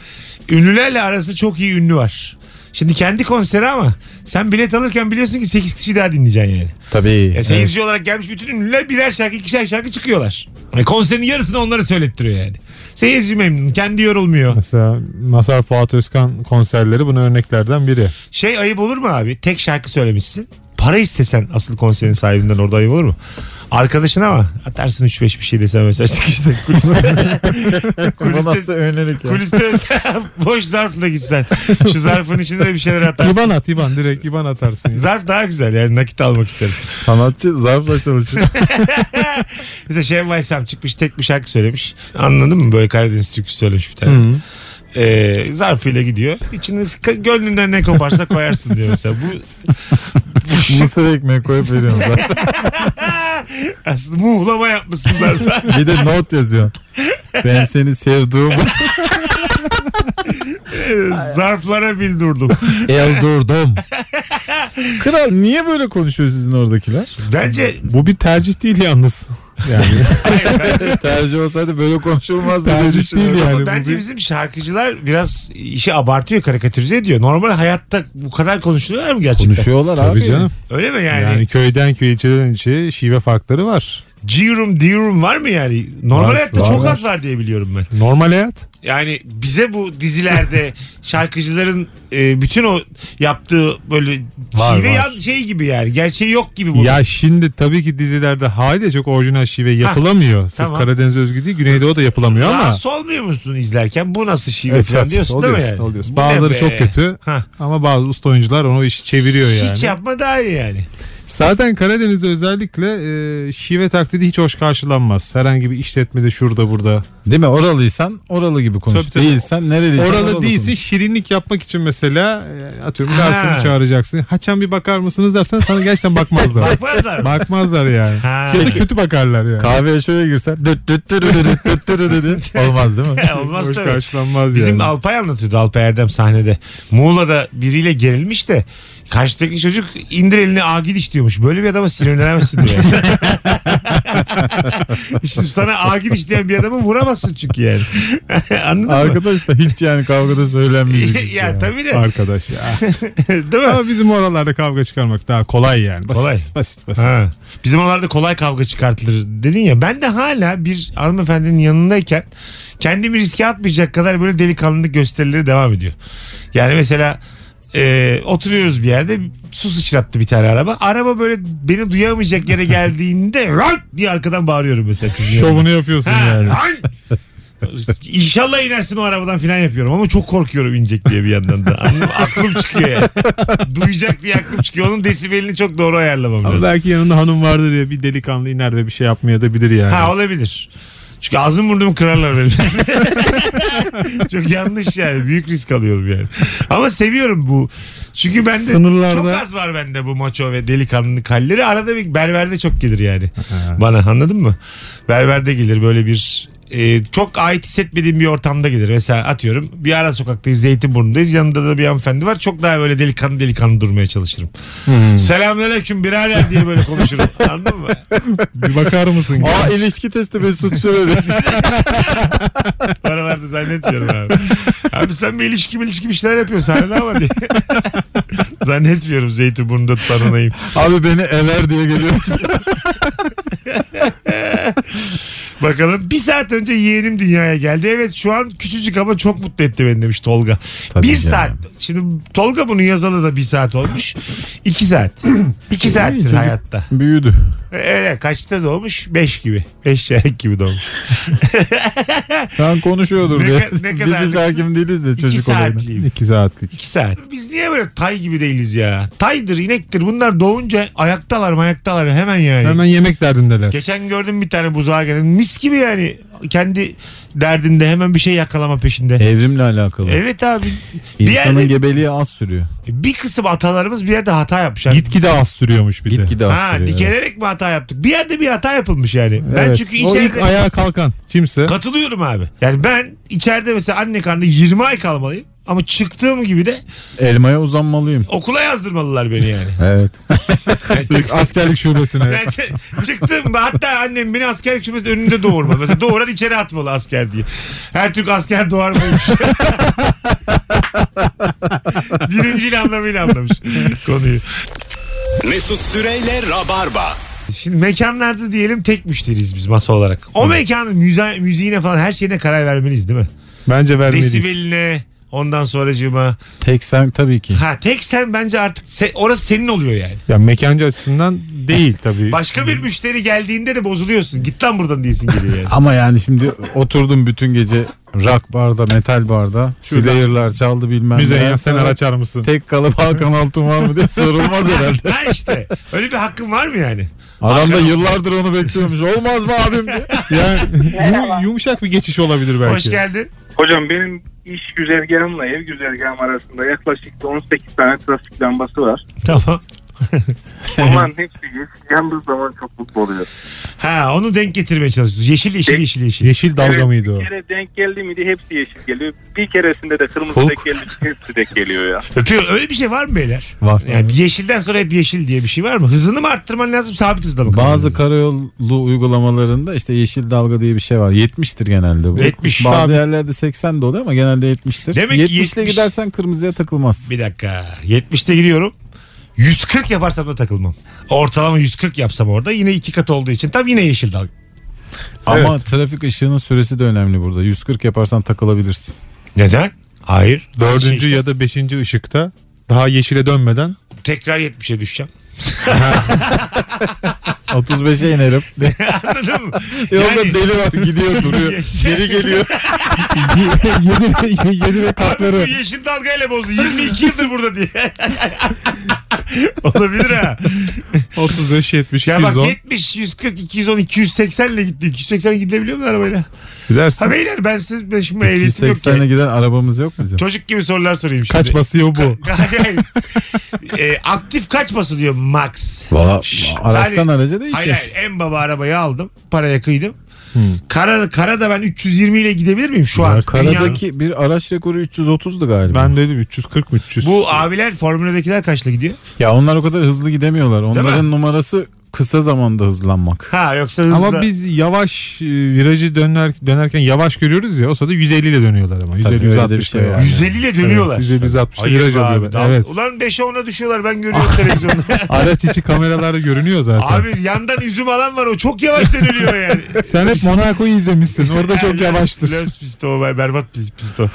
Speaker 2: ünlülerle arası çok iyi ünlü var. Şimdi kendi konseri ama sen bilet alırken biliyorsun ki 8 kişi daha dinleyeceksin yani.
Speaker 4: Tabii.
Speaker 2: E seyirci olarak gelmiş bütün ünlüler birer şarkı ikişer şarkı çıkıyorlar. E konserin yarısını onları söylettiriyor yani. Seyirci memnun. Kendi yorulmuyor.
Speaker 3: Mesela Masar Fuat Özkan konserleri buna örneklerden biri.
Speaker 2: Şey ayıp olur mu abi? Tek şarkı söylemişsin. Para istesen asıl konserin sahibinden orada ayıp olur mu? Arkadaşın ama atarsın 3-5 bir şey desen mesela çıkışta kuliste.
Speaker 4: Bu nasıl
Speaker 2: kuliste
Speaker 4: önlenik ya?
Speaker 2: kuliste boş zarfla gitsen. Şu zarfın içinde de bir şeyler atarsın.
Speaker 3: İban at İban direkt İban atarsın. ya.
Speaker 2: Zarf daha güzel yani nakit almak isterim.
Speaker 4: Sanatçı zarfla çalışıyor.
Speaker 2: Mesela Şevval Sam çıkmış tek bir şarkı söylemiş. Anladın mı? Böyle Karadeniz türküsü söylemiş bir tane. e, zarfıyla gidiyor. İçiniz k- gönlünden ne koparsa koyarsın diyor mesela. Bu, bu
Speaker 4: Mısır ekmeği koyup veriyorum zaten.
Speaker 2: aslında muğlama yapmışsın zarfa.
Speaker 4: Bir de not yazıyor. Ben seni sevdiğim
Speaker 2: Zarflara bildurdum.
Speaker 4: eldurdum. Kral niye böyle konuşuyor sizin oradakiler?
Speaker 2: Bence
Speaker 3: Bu bir tercih değil yalnız.
Speaker 4: Yani
Speaker 2: hayır, bence,
Speaker 4: tercih olsaydı böyle konuşulmazdı diye
Speaker 3: Tercih
Speaker 4: düşünüyorum.
Speaker 3: değil yani. bu
Speaker 2: bence
Speaker 3: bir-
Speaker 2: bizim şarkıcılar biraz işi abartıyor, karikatürize ediyor. Normal hayatta bu kadar konuşuyorlar mı gerçekten?
Speaker 4: Konuşuyorlar
Speaker 3: Tabii
Speaker 4: abi.
Speaker 3: canım.
Speaker 2: Öyle mi yani?
Speaker 3: Yani, köyden köye ilçeden ilçeye şive farkları var.
Speaker 2: G-Room, D-Room var mı yani? Normal
Speaker 3: Var,
Speaker 2: hayatta
Speaker 3: var,
Speaker 2: çok
Speaker 3: var.
Speaker 2: az var diye biliyorum ben.
Speaker 3: Normal hayat.
Speaker 2: Yani bize bu dizilerde şarkıcıların e, bütün o yaptığı böyle
Speaker 3: Var,
Speaker 2: şive
Speaker 3: var.
Speaker 2: yan şey gibi yani. Gerçeği yok gibi bunun.
Speaker 3: Ya şimdi tabii ki dizilerde haliyle çok orijinal şive yapılamıyor. Sırf
Speaker 2: tamam.
Speaker 3: Karadeniz özgü değil Güneydoğu da yapılamıyor ama.
Speaker 2: Rahatsız olmuyor musun izlerken? Bu nasıl şive
Speaker 3: Evet,
Speaker 2: falan
Speaker 3: tabii.
Speaker 2: diyorsun değil
Speaker 3: Oluyorsun,
Speaker 2: mi yani?
Speaker 3: oluyorsun.
Speaker 2: Bu ne
Speaker 3: Bazıları
Speaker 2: be?
Speaker 3: çok kötü
Speaker 2: Hah.
Speaker 3: ama bazı usta oyuncular onu işi çeviriyor yani.
Speaker 2: Hiç yapma daha iyi yani.
Speaker 3: Zaten Karadeniz'de özellikle e, şive taklidi hiç hoş karşılanmaz. Herhangi bir işletmede şurada burada.
Speaker 4: Değil mi? Oralıysan oralı gibi konuş.
Speaker 3: Tabii, tabii.
Speaker 4: Değilsen nereliysen
Speaker 3: Oralı değilse
Speaker 4: konuş.
Speaker 3: şirinlik yapmak için mesela e, atıyorum
Speaker 2: Ha.
Speaker 3: garsonu çağıracaksın. Haçan bir bakar mısınız dersen sana gerçekten bakmazlar.
Speaker 2: Bakmazlar mı?
Speaker 3: Bakmazlar yani.
Speaker 2: Ha.
Speaker 3: Ya da kötü bakarlar yani.
Speaker 4: Kahveye şöyle girsen düt düt düt düt düt düt düt dedi. Olmaz değil mi?
Speaker 2: Olmaz
Speaker 3: Hoş
Speaker 2: tabii.
Speaker 3: karşılanmaz
Speaker 2: Bizim
Speaker 3: yani.
Speaker 2: Alpay anlatıyordu Alpay Erdem sahnede. Muğla'da biriyle gerilmiş de karşıdaki çocuk indir elini ağa gidiş diyormuş. Böyle bir adama sinirlenemezsin diyor. işte sana ağa gidiş diyen bir adamı vuramazsın çünkü yani. Anladın mı?
Speaker 4: Arkadaş da hiç yani kavgada söylenmeyecek. bir şey
Speaker 2: ya tabii de
Speaker 3: Arkadaş ya.
Speaker 2: değil mi?
Speaker 3: Ama bizim oralarda kavga çıkarmak daha kolay yani. Basit
Speaker 2: Kolay.
Speaker 3: basit basit.
Speaker 2: Ha. Bizim oralarda kolay kavga çıkartılır dedin ya. Ben de hala bir hanımefendinin yanındayken kendimi riske atmayacak kadar böyle delikanlılık gösterileri devam ediyor. Yani mesela e, oturuyoruz bir yerde su sıçrattı bir tane araba. Araba böyle beni duyamayacak yere geldiğinde "Lan!" diye arkadan bağırıyorum mesela. kızın
Speaker 3: Şovunu yapıyorsun
Speaker 2: yanında. Ha,
Speaker 3: yani.
Speaker 2: "Lan!" İnşallah inersin o arabadan filan yapıyorum ama çok korkuyorum inecek diye bir yandan da. Anladın mı? Aklım çıkıyor yani. Duyacak diye aklım çıkıyor. Onun desibelini çok doğru ayarlamam lazım.
Speaker 3: Ama belki yanında hanım vardır ya bir delikanlı iner ve bir şey yapmaya da bilir yani.
Speaker 2: Ha olabilir. Çünkü ağzım burnumu kırarlar benim. çok yanlış yani. Büyük risk alıyorum yani. Ama seviyorum bu. Çünkü bende
Speaker 3: Sınırlarda-
Speaker 2: çok az var bende bu maço ve delikanlılık halleri. Arada bir berberde çok gelir yani. Bana anladın mı? Berberde gelir böyle bir e, çok ait hissetmediğim bir ortamda gelir. Mesela atıyorum bir ara sokaktayız Zeytinburnu'ndayız. Yanında da bir hanımefendi var. Çok daha böyle delikanlı delikanlı durmaya çalışırım.
Speaker 3: Hmm.
Speaker 2: Selamünaleyküm birader diye böyle konuşurum. Anladın mı?
Speaker 3: Bir bakar mısın?
Speaker 4: Aa ilişki testi Mesut Süreli.
Speaker 2: Paralarda zannetmiyorum abi. Abi sen bir ilişki ilişki bir şeyler yapıyorsun hala ama diye. zannetmiyorum Zeytinburnu'nda tutan onayım.
Speaker 4: Abi beni ever diye geliyor.
Speaker 2: Bakalım bir saat önce yeğenim dünyaya geldi. Evet şu an küçücük ama çok mutlu etti beni demiş Tolga.
Speaker 4: Tabii
Speaker 2: bir
Speaker 4: canım.
Speaker 2: saat. Şimdi Tolga bunu yazalı da bir saat olmuş. İki saat. İki saattir
Speaker 4: çocuk-
Speaker 2: hayatta.
Speaker 4: Büyüdü.
Speaker 2: Öyle kaçta doğmuş? Beş gibi. Beş çeyrek gibi doğmuş.
Speaker 4: Ben konuşuyordur
Speaker 2: Ne
Speaker 4: diye.
Speaker 2: ka- ne
Speaker 4: Biz hiç
Speaker 2: kadarlıksın?
Speaker 4: hakim değiliz de
Speaker 2: İki
Speaker 4: çocuk olayına.
Speaker 2: saatlik.
Speaker 3: İki saatlik.
Speaker 2: İki saat. Biz niye böyle tay gibi değiliz ya? Taydır, inektir. Bunlar doğunca ayaktalar ayaktalar hemen yani.
Speaker 3: Hemen yemek derdindeler.
Speaker 2: Geçen gördüm bir tane buzağa gelen. Mis gibi yani. Kendi derdinde hemen bir şey yakalama peşinde.
Speaker 4: Evrimle alakalı.
Speaker 2: Evet abi. Bir
Speaker 4: İnsanın
Speaker 2: yerde
Speaker 4: gebeliği az sürüyor.
Speaker 2: bir kısım atalarımız bir yerde hata yapmış. abi.
Speaker 3: Gitgide az sürüyormuş bir de.
Speaker 4: Gitgide az
Speaker 2: Ha,
Speaker 4: sürüyor.
Speaker 2: dikelerek mi hata yaptık? Bir yerde bir hata yapılmış yani. Ben
Speaker 3: Evet.
Speaker 2: çünkü
Speaker 3: O ilk
Speaker 2: içeride
Speaker 3: ayağa kalkan kimse.
Speaker 2: katılıyorum abi. Yani ben içeride mesela anne karnında 20 ay kalmalıyım. Ama çıktığım gibi de
Speaker 4: Elmaya uzanmalıyım.
Speaker 2: okula yazdırmalılar beni yani.
Speaker 4: Evet.
Speaker 3: Askerlik şubesine.
Speaker 2: Ben ç- çıktım hatta annem beni askerlik şubesinin önünde doğurma. Mesela doğuran içeri atmalı asker diye. Her Türk asker doğar mıymış? Birincil anlamıyla anlamış konuyu.
Speaker 1: Mesut Süreyle Rabarba.
Speaker 2: Şimdi mekanlarda diyelim tek müşteriyiz biz masa olarak. O mekanın müze, müziğine falan her şeyine karar vermeliyiz değil mi?
Speaker 3: Bence vermeliyiz.
Speaker 2: Desibeline ondan sonracığıma.
Speaker 4: Tek sen tabii ki.
Speaker 2: Ha tek sen bence artık se- orası senin oluyor yani.
Speaker 3: Ya mekancı açısından değil tabii.
Speaker 2: Başka bir müşteri geldiğinde de bozuluyorsun. Git lan buradan diyesin geliyor yani.
Speaker 4: Ama yani şimdi oturdum bütün gece rock barda, metal barda. Slayer'lar çaldı bilmem
Speaker 3: Müzeyyen
Speaker 4: neler.
Speaker 3: sen
Speaker 4: Sana
Speaker 3: araçar mısın?
Speaker 4: Tek kalıp Hakan Altun var mı diye sorulmaz herhalde.
Speaker 2: ha işte. Öyle bir hakkın var mı yani?
Speaker 4: Adam da yıllardır onu bekliyormuş. Olmaz mı abim? diye.
Speaker 3: Yani yu- yumuşak bir geçiş olabilir belki.
Speaker 2: Hoş geldin.
Speaker 8: Hocam benim iş güzergahımla ev güzergahım arasında yaklaşık da 18 tane trafik lambası var.
Speaker 2: Tamam.
Speaker 8: Onların hepsi yeşil yandığı zaman çok mutlu oluyor.
Speaker 2: Ha onu denk getirmeye çalışıyoruz. Yeşil yeşil yeşil yeşil.
Speaker 3: Yeşil dalga mıydı o?
Speaker 8: Bir kere denk geldi miydi hepsi yeşil geliyor. Bir keresinde de kırmızı
Speaker 3: Hulk.
Speaker 8: denk geldi hepsi denk geliyor ya.
Speaker 2: Öpüyorum. Öyle bir şey var mı beyler?
Speaker 4: Var.
Speaker 2: Yani yeşilden sonra hep yeşil diye bir şey var mı? Hızını mı arttırman lazım sabit hızla mı?
Speaker 4: Bazı karayolu uygulamalarında işte yeşil dalga diye bir şey var. 70'tir genelde bu.
Speaker 2: 70
Speaker 4: Bazı
Speaker 2: abi.
Speaker 4: yerlerde 80 de oluyor ama genelde 70'tir.
Speaker 2: Demek ki
Speaker 4: 70 ile
Speaker 2: 70
Speaker 4: gidersen kırmızıya takılmaz.
Speaker 2: Bir dakika. 70'te giriyorum. 140 yaparsam da takılmam. Ortalama 140 yapsam orada yine iki kat olduğu için tam yine yeşil dalga.
Speaker 4: Ama trafik ışığının süresi de önemli burada. 140 yaparsan takılabilirsin.
Speaker 2: Neden? Hayır. Şey
Speaker 3: Dördüncü
Speaker 2: işte,
Speaker 3: ya da beşinci ışıkta daha yeşile dönmeden
Speaker 2: Şey, tekrar 70'e düşeceğim.
Speaker 4: 35'e inerim.
Speaker 2: Anladın mı?
Speaker 4: Yolda
Speaker 2: Yani-
Speaker 4: deli var gidiyor duruyor. Geri geliyor.
Speaker 3: yedi, yedi ve
Speaker 2: Bu
Speaker 3: katları.
Speaker 2: yeşil dalgayla bozdu. 22 yıldır burada diye. Olabilir ha.
Speaker 3: 35, 70,
Speaker 2: Ya bak
Speaker 3: 210
Speaker 2: 70, 140, 210, 280 ile gitti. 280 gidebiliyor mu arabayla? Ha
Speaker 3: gidersin.
Speaker 2: beyler ben siz ben şimdi ehliyetim yok
Speaker 4: 180'e
Speaker 2: ki.
Speaker 4: giden arabamız yok bizim.
Speaker 2: Çocuk gibi sorular sorayım şimdi.
Speaker 3: Kaç basıyor bu?
Speaker 2: Hayır. e, aktif kaç basılıyor max?
Speaker 4: Valla araçtan
Speaker 2: Yani-
Speaker 4: araca değişir.
Speaker 2: Hayır hayır
Speaker 3: şey.
Speaker 2: en baba arabayı aldım. Paraya kıydım. Kara, karada ben 320 ile gidebilir miyim şu an?
Speaker 3: Ya
Speaker 2: Dünyanın-
Speaker 4: Karadaki bir araç rekoru 330'du galiba.
Speaker 3: Ben dedim 340 mı 300?
Speaker 2: bu abiler formüledekiler kaçla gidiyor?
Speaker 4: Ya onlar o kadar hızlı gidemiyorlar. Onların
Speaker 2: mi?
Speaker 4: numarası kısa zamanda hızlanmak.
Speaker 2: Ha yoksa hızla.
Speaker 3: ama biz yavaş e, virajı döner, dönerken yavaş görüyoruz ya o sırada 150 ile dönüyorlar ama 150
Speaker 4: öyle de bir
Speaker 3: 160
Speaker 4: şey
Speaker 3: ile
Speaker 4: var.
Speaker 3: yani.
Speaker 2: 150 ile dönüyorlar.
Speaker 3: Evet, 150 160
Speaker 2: Hayır
Speaker 3: viraj
Speaker 2: be abi,
Speaker 3: alıyor.
Speaker 2: daha-
Speaker 3: Evet.
Speaker 2: Ulan 5'e 10'a düşüyorlar ben görüyorum televizyonda.
Speaker 3: Araç içi kameralarda görünüyor zaten.
Speaker 2: abi yandan üzüm alan var o çok yavaş dönülüyor yani.
Speaker 3: Sen hep Monaco'yu izlemişsin. Orada çok
Speaker 2: Ya,
Speaker 3: yavaştır.
Speaker 2: Lörs pisto o be- berbat pis- pisto.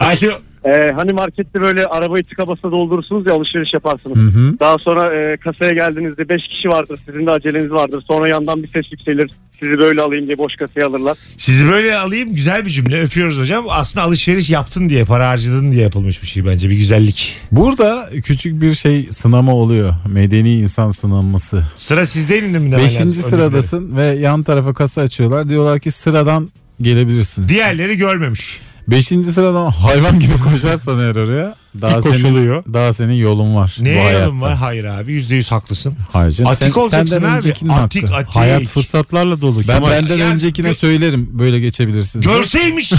Speaker 2: Alo.
Speaker 9: Ee, hani markette böyle arabayı tıka basa doldurursunuz ya alışveriş yaparsınız.
Speaker 4: Hı hı.
Speaker 9: Daha sonra e, kasaya geldiğinizde 5 kişi vardır sizin de aceleniz vardır. Sonra yandan bir ses yükselir sizi böyle alayım diye boş kasaya alırlar.
Speaker 2: Sizi böyle alayım güzel bir cümle öpüyoruz hocam. Aslında alışveriş yaptın diye para harcadın diye yapılmış bir şey bence bir güzellik.
Speaker 4: Burada küçük bir şey sınama oluyor. Medeni insan sınanması.
Speaker 2: Sıra sizde mi demen lazım?
Speaker 4: Beşinci
Speaker 2: Özür dilerim.
Speaker 4: sıradasın ve yan tarafa kasa açıyorlar. Diyorlar ki sıradan gelebilirsin.
Speaker 2: Diğerleri görmemiş.
Speaker 4: Beşinci sıradan hayvan gibi koşarsan eğer oraya daha
Speaker 3: Bir
Speaker 4: senin,
Speaker 3: koşuluyor.
Speaker 4: daha senin yolun var. bu
Speaker 2: Neye yanım
Speaker 4: hayatta.
Speaker 2: var? Hayır abi yüzde yüz haklısın.
Speaker 4: Hayır canım,
Speaker 2: Atik
Speaker 4: sen,
Speaker 2: olacaksın
Speaker 4: senden
Speaker 2: abi.
Speaker 4: öncekinin
Speaker 2: Atik,
Speaker 4: hakkı.
Speaker 2: atik.
Speaker 4: Hayat fırsatı.
Speaker 3: Fırsatlarla dolu.
Speaker 4: Ben
Speaker 3: Kemal-
Speaker 4: benden
Speaker 2: yani-
Speaker 4: öncekine söylerim böyle geçebilirsiniz.
Speaker 2: Görseymiş.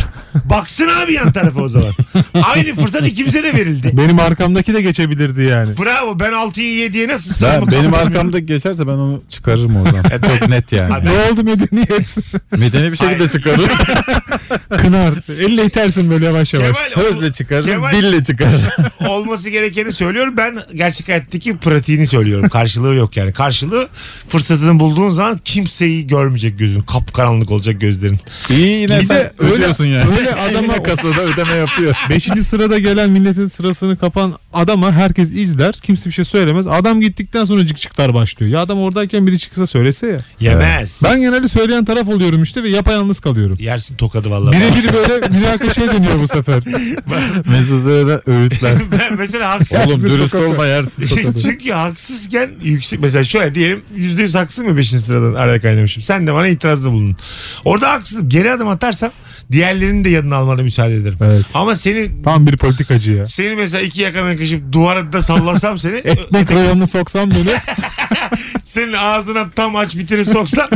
Speaker 2: Baksın abi yan tarafa o zaman. Aynı fırsat ikimize de verildi.
Speaker 3: Benim arkamdaki de geçebilirdi yani.
Speaker 2: Bravo ben 6'yı 7'ye nasıl
Speaker 4: Ben,
Speaker 2: sığamam?
Speaker 4: benim arkamdaki geçerse ben onu çıkarırım oradan. Çok net yani.
Speaker 2: E, Abi-
Speaker 3: Ne oldu medeniyet?
Speaker 4: Medeni bir şekilde
Speaker 2: Aynen.
Speaker 4: çıkarırım.
Speaker 3: Kınar. Elle itersin böyle yavaş yavaş.
Speaker 2: Kemal-
Speaker 4: Sözle çıkarırım,
Speaker 2: Kemal-
Speaker 4: dille çıkarırım.
Speaker 2: olması gerekeni söylüyorum. Ben gerçek hayattaki pratiğini söylüyorum. Karşılığı yok yani. Karşılığı fırsatını bulduğun zaman kimseyi görmeyecek gözün. Kapkaranlık olacak gözlerin.
Speaker 4: İyi yine
Speaker 3: Bir
Speaker 4: sen
Speaker 3: de öyle-
Speaker 4: ödüyorsun yani.
Speaker 3: öyle adama-
Speaker 4: Yine kasada ödeme yapıyor.
Speaker 3: Beşinci sırada gelen milletin sırasını kapan adama herkes izler. Kimse bir şey söylemez. Adam gittikten sonra cıkcıklar başlıyor. Ya adam oradayken biri çıksa söylese ya.
Speaker 2: Yemez.
Speaker 3: Ben genelde söyleyen taraf oluyorum işte ve yapayalnız kalıyorum.
Speaker 2: Yersin tokadı vallahi.
Speaker 3: Birebir böyle mülaka şey dönüyor bu sefer.
Speaker 4: Mesut Süre'de öğütler.
Speaker 2: ben mesela haksız.
Speaker 4: Oğlum dürüst
Speaker 3: tokat-
Speaker 4: olma yersin.
Speaker 2: Çünkü haksızken yüksek mesela şöyle diyelim yüzde yüz haksız mı 5. sıradan araya kaynamışım. Sen de bana itirazda bulun. Orada haksızım. Geri adım atarsam diğerlerinin de yanına almana müsaade ederim.
Speaker 3: Evet.
Speaker 2: Ama seni
Speaker 3: Tam bir politikacı ya.
Speaker 2: seni mesela iki yakana yakışıp duvara da sallasam seni
Speaker 3: Ekmek rayonuna soksam beni
Speaker 2: senin ağzına tam aç bitiri soksam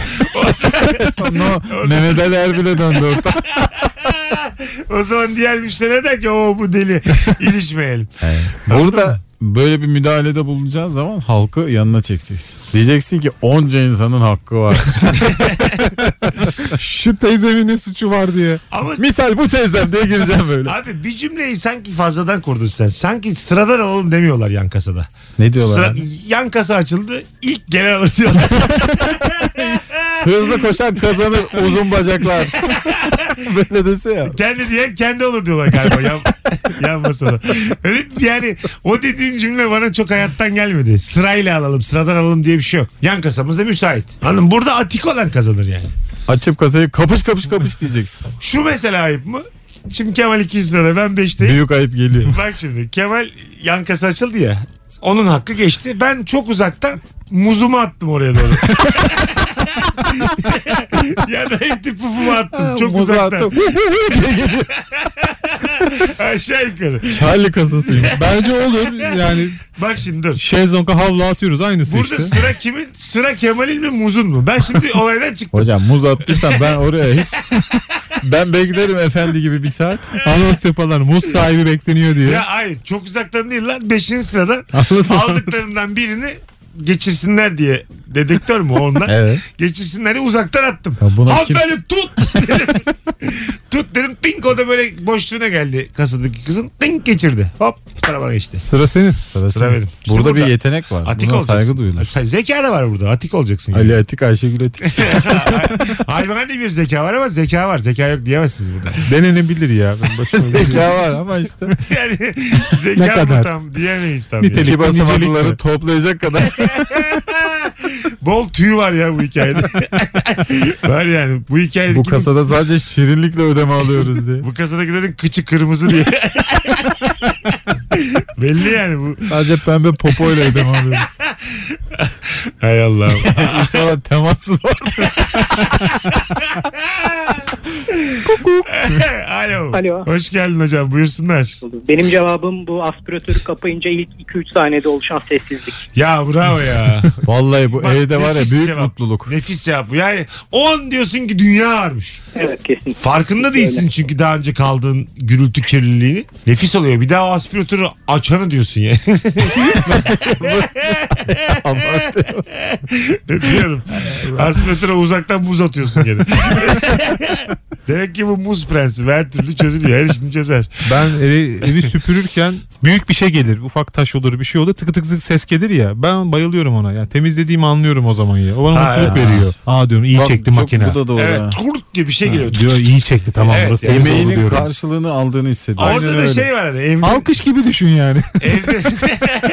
Speaker 4: no, Mehmet Ali Erbil'e döndü orta.
Speaker 2: O zaman diğer müşteri der ki o bu deli ilişmeyelim.
Speaker 4: Burada böyle bir müdahalede bulunacağın zaman halkı yanına çekeceksin. Diyeceksin ki onca insanın hakkı var.
Speaker 3: şu teyzemin ne suçu var diye.
Speaker 2: Ama
Speaker 4: Misal bu teyzem diye gireceğim böyle.
Speaker 2: abi bir cümleyi sanki fazladan kurdun sen. Sanki sıradan alalım demiyorlar yan kasada.
Speaker 4: Ne
Speaker 2: Sıra,
Speaker 4: diyorlar?
Speaker 2: yan kasa açıldı ilk gelen alır diyorlar.
Speaker 4: Hızlı koşan kazanır uzun bacaklar. böyle dese ya.
Speaker 2: kendi diyen kendi olur diyorlar galiba yan, yan masada. Öyle bir- yani o dediğin cümle bana çok hayattan gelmedi. Sırayla alalım sıradan alalım diye bir şey yok. Yan kasamızda müsait. Hanım burada atik olan kazanır yani.
Speaker 4: Açıp kasayı kapış kapış kapış diyeceksin.
Speaker 2: Şu mesela ayıp mı? Şimdi Kemal ikinci sırada ben beşteyim.
Speaker 4: Büyük ayıp geliyor.
Speaker 2: Bak şimdi Kemal yan kasa açıldı ya. Onun hakkı geçti. Ben çok uzaktan muzumu attım oraya doğru. ya da ekti pufumu attım. Çok
Speaker 4: Muzu
Speaker 2: uzaktan.
Speaker 4: attım. Diye geliyor.
Speaker 2: Aşağı yukarı.
Speaker 4: Charlie kasasıyım.
Speaker 3: Bence olur yani
Speaker 2: Bak şimdi dur.
Speaker 3: şezlonga havlu atıyoruz aynısı
Speaker 2: Burada
Speaker 3: işte.
Speaker 2: sıra kimin? Sıra Kemal'in mi Muz'un mu? Ben şimdi olaydan çıktım.
Speaker 4: Hocam muz attıysan ben oraya hiç... Ben beklerim efendi gibi bir saat.
Speaker 3: Anons yaparlar muz sahibi bekleniyor diye.
Speaker 2: Ya hayır çok uzaktan değil lan. Beşinci sıradan
Speaker 4: Anlasın.
Speaker 2: aldıklarından birini geçirsinler diye. Dedektör mü ondan?
Speaker 4: Evet.
Speaker 2: Geçirsinler diye uzaktan attım.
Speaker 4: Ya buna
Speaker 2: Hanımefendi tut! dedim. tut dedim. Tink o da böyle boşluğuna geldi kasadaki kızın. Tink geçirdi. Hop arabana geçti.
Speaker 3: Sıra senin.
Speaker 4: Sıra
Speaker 2: Sıra
Speaker 4: senin.
Speaker 2: benim. İşte
Speaker 4: burada,
Speaker 2: burada.
Speaker 4: bir yetenek var.
Speaker 2: Atik
Speaker 4: Buna
Speaker 2: olacaksın.
Speaker 4: saygı duyulur.
Speaker 2: Sen- Zeka da var burada. Atik olacaksın. Yani.
Speaker 4: Ali Atik, Ayşegül Atik.
Speaker 2: Hayvani bir zeka var ama zeka var. Zeka yok diyemezsiniz burada.
Speaker 3: Denenebilir ya. Ben başıma
Speaker 4: Zeka var ama işte.
Speaker 2: Yani
Speaker 3: Ne
Speaker 2: zeka mı
Speaker 3: kadar?
Speaker 2: tam diyemeyiz tam.
Speaker 3: Nitelik.
Speaker 2: ya.
Speaker 4: İki
Speaker 3: nicelik
Speaker 4: basamaklıları
Speaker 3: mi?
Speaker 4: toplayacak kadar.
Speaker 2: Bol tüy var ya bu hikayede. var yani bu hikayede.
Speaker 4: Bu kasada sadece şirinlikle ödeme alıyoruz diye.
Speaker 2: bu kasadakilerin kıçı kırmızı diye. Belli yani bu.
Speaker 4: Sadece pembe popoyla ödeme alıyoruz.
Speaker 2: Hay Allah'ım.
Speaker 4: İnsanlar temassız var.
Speaker 2: Alo.
Speaker 10: Alo.
Speaker 2: Hoş geldin hocam buyursunlar.
Speaker 10: Benim cevabım bu aspiratörü kapayınca ilk 2-3 saniyede oluşan sessizlik.
Speaker 2: Ya bravo ya.
Speaker 4: Vallahi bu
Speaker 2: Bak,
Speaker 4: evde var ya
Speaker 2: nefis
Speaker 4: büyük
Speaker 2: cevap.
Speaker 4: mutluluk.
Speaker 2: Nefis ya bu. Yani o an diyorsun ki dünya varmış.
Speaker 10: Evet kesin.
Speaker 2: Farkında değilsin çünkü daha önce kaldığın gürültü kirliliğini. Nefis oluyor. Bir daha o aspiratörü açanı diyorsun ya. Öpüyorum. Aspiratöre uzaktan muz atıyorsun gene. Demek ki bu muz prensi her türlü çözülüyor. Her işini çözer.
Speaker 3: Ben evi, evi süpürürken büyük bir şey gelir. Ufak taş olur bir şey olur. Tıkı tık tık ses gelir ya. Ben bayılıyorum ona. Yani temizlediğimi anlıyorum o zaman ya. O bana
Speaker 2: Ha,
Speaker 3: mutluluk
Speaker 2: evet.
Speaker 3: veriyor. Aa diyorum iyi
Speaker 4: Bak,
Speaker 3: çekti
Speaker 4: çok-
Speaker 3: makine.
Speaker 4: Bu da doğru.
Speaker 2: Evet,
Speaker 4: ha.
Speaker 2: kurt diye bir şey
Speaker 3: Ha,
Speaker 2: geliyor.
Speaker 3: diyor iyi çekti tamam
Speaker 2: Evet,
Speaker 3: burası
Speaker 2: yani.
Speaker 3: temiz oldu
Speaker 4: Emeğinin
Speaker 3: diyorum.
Speaker 4: karşılığını aldığını hissediyor.
Speaker 2: Orada da şey var hani evde,
Speaker 3: Alkış gibi düşün yani.
Speaker 2: evde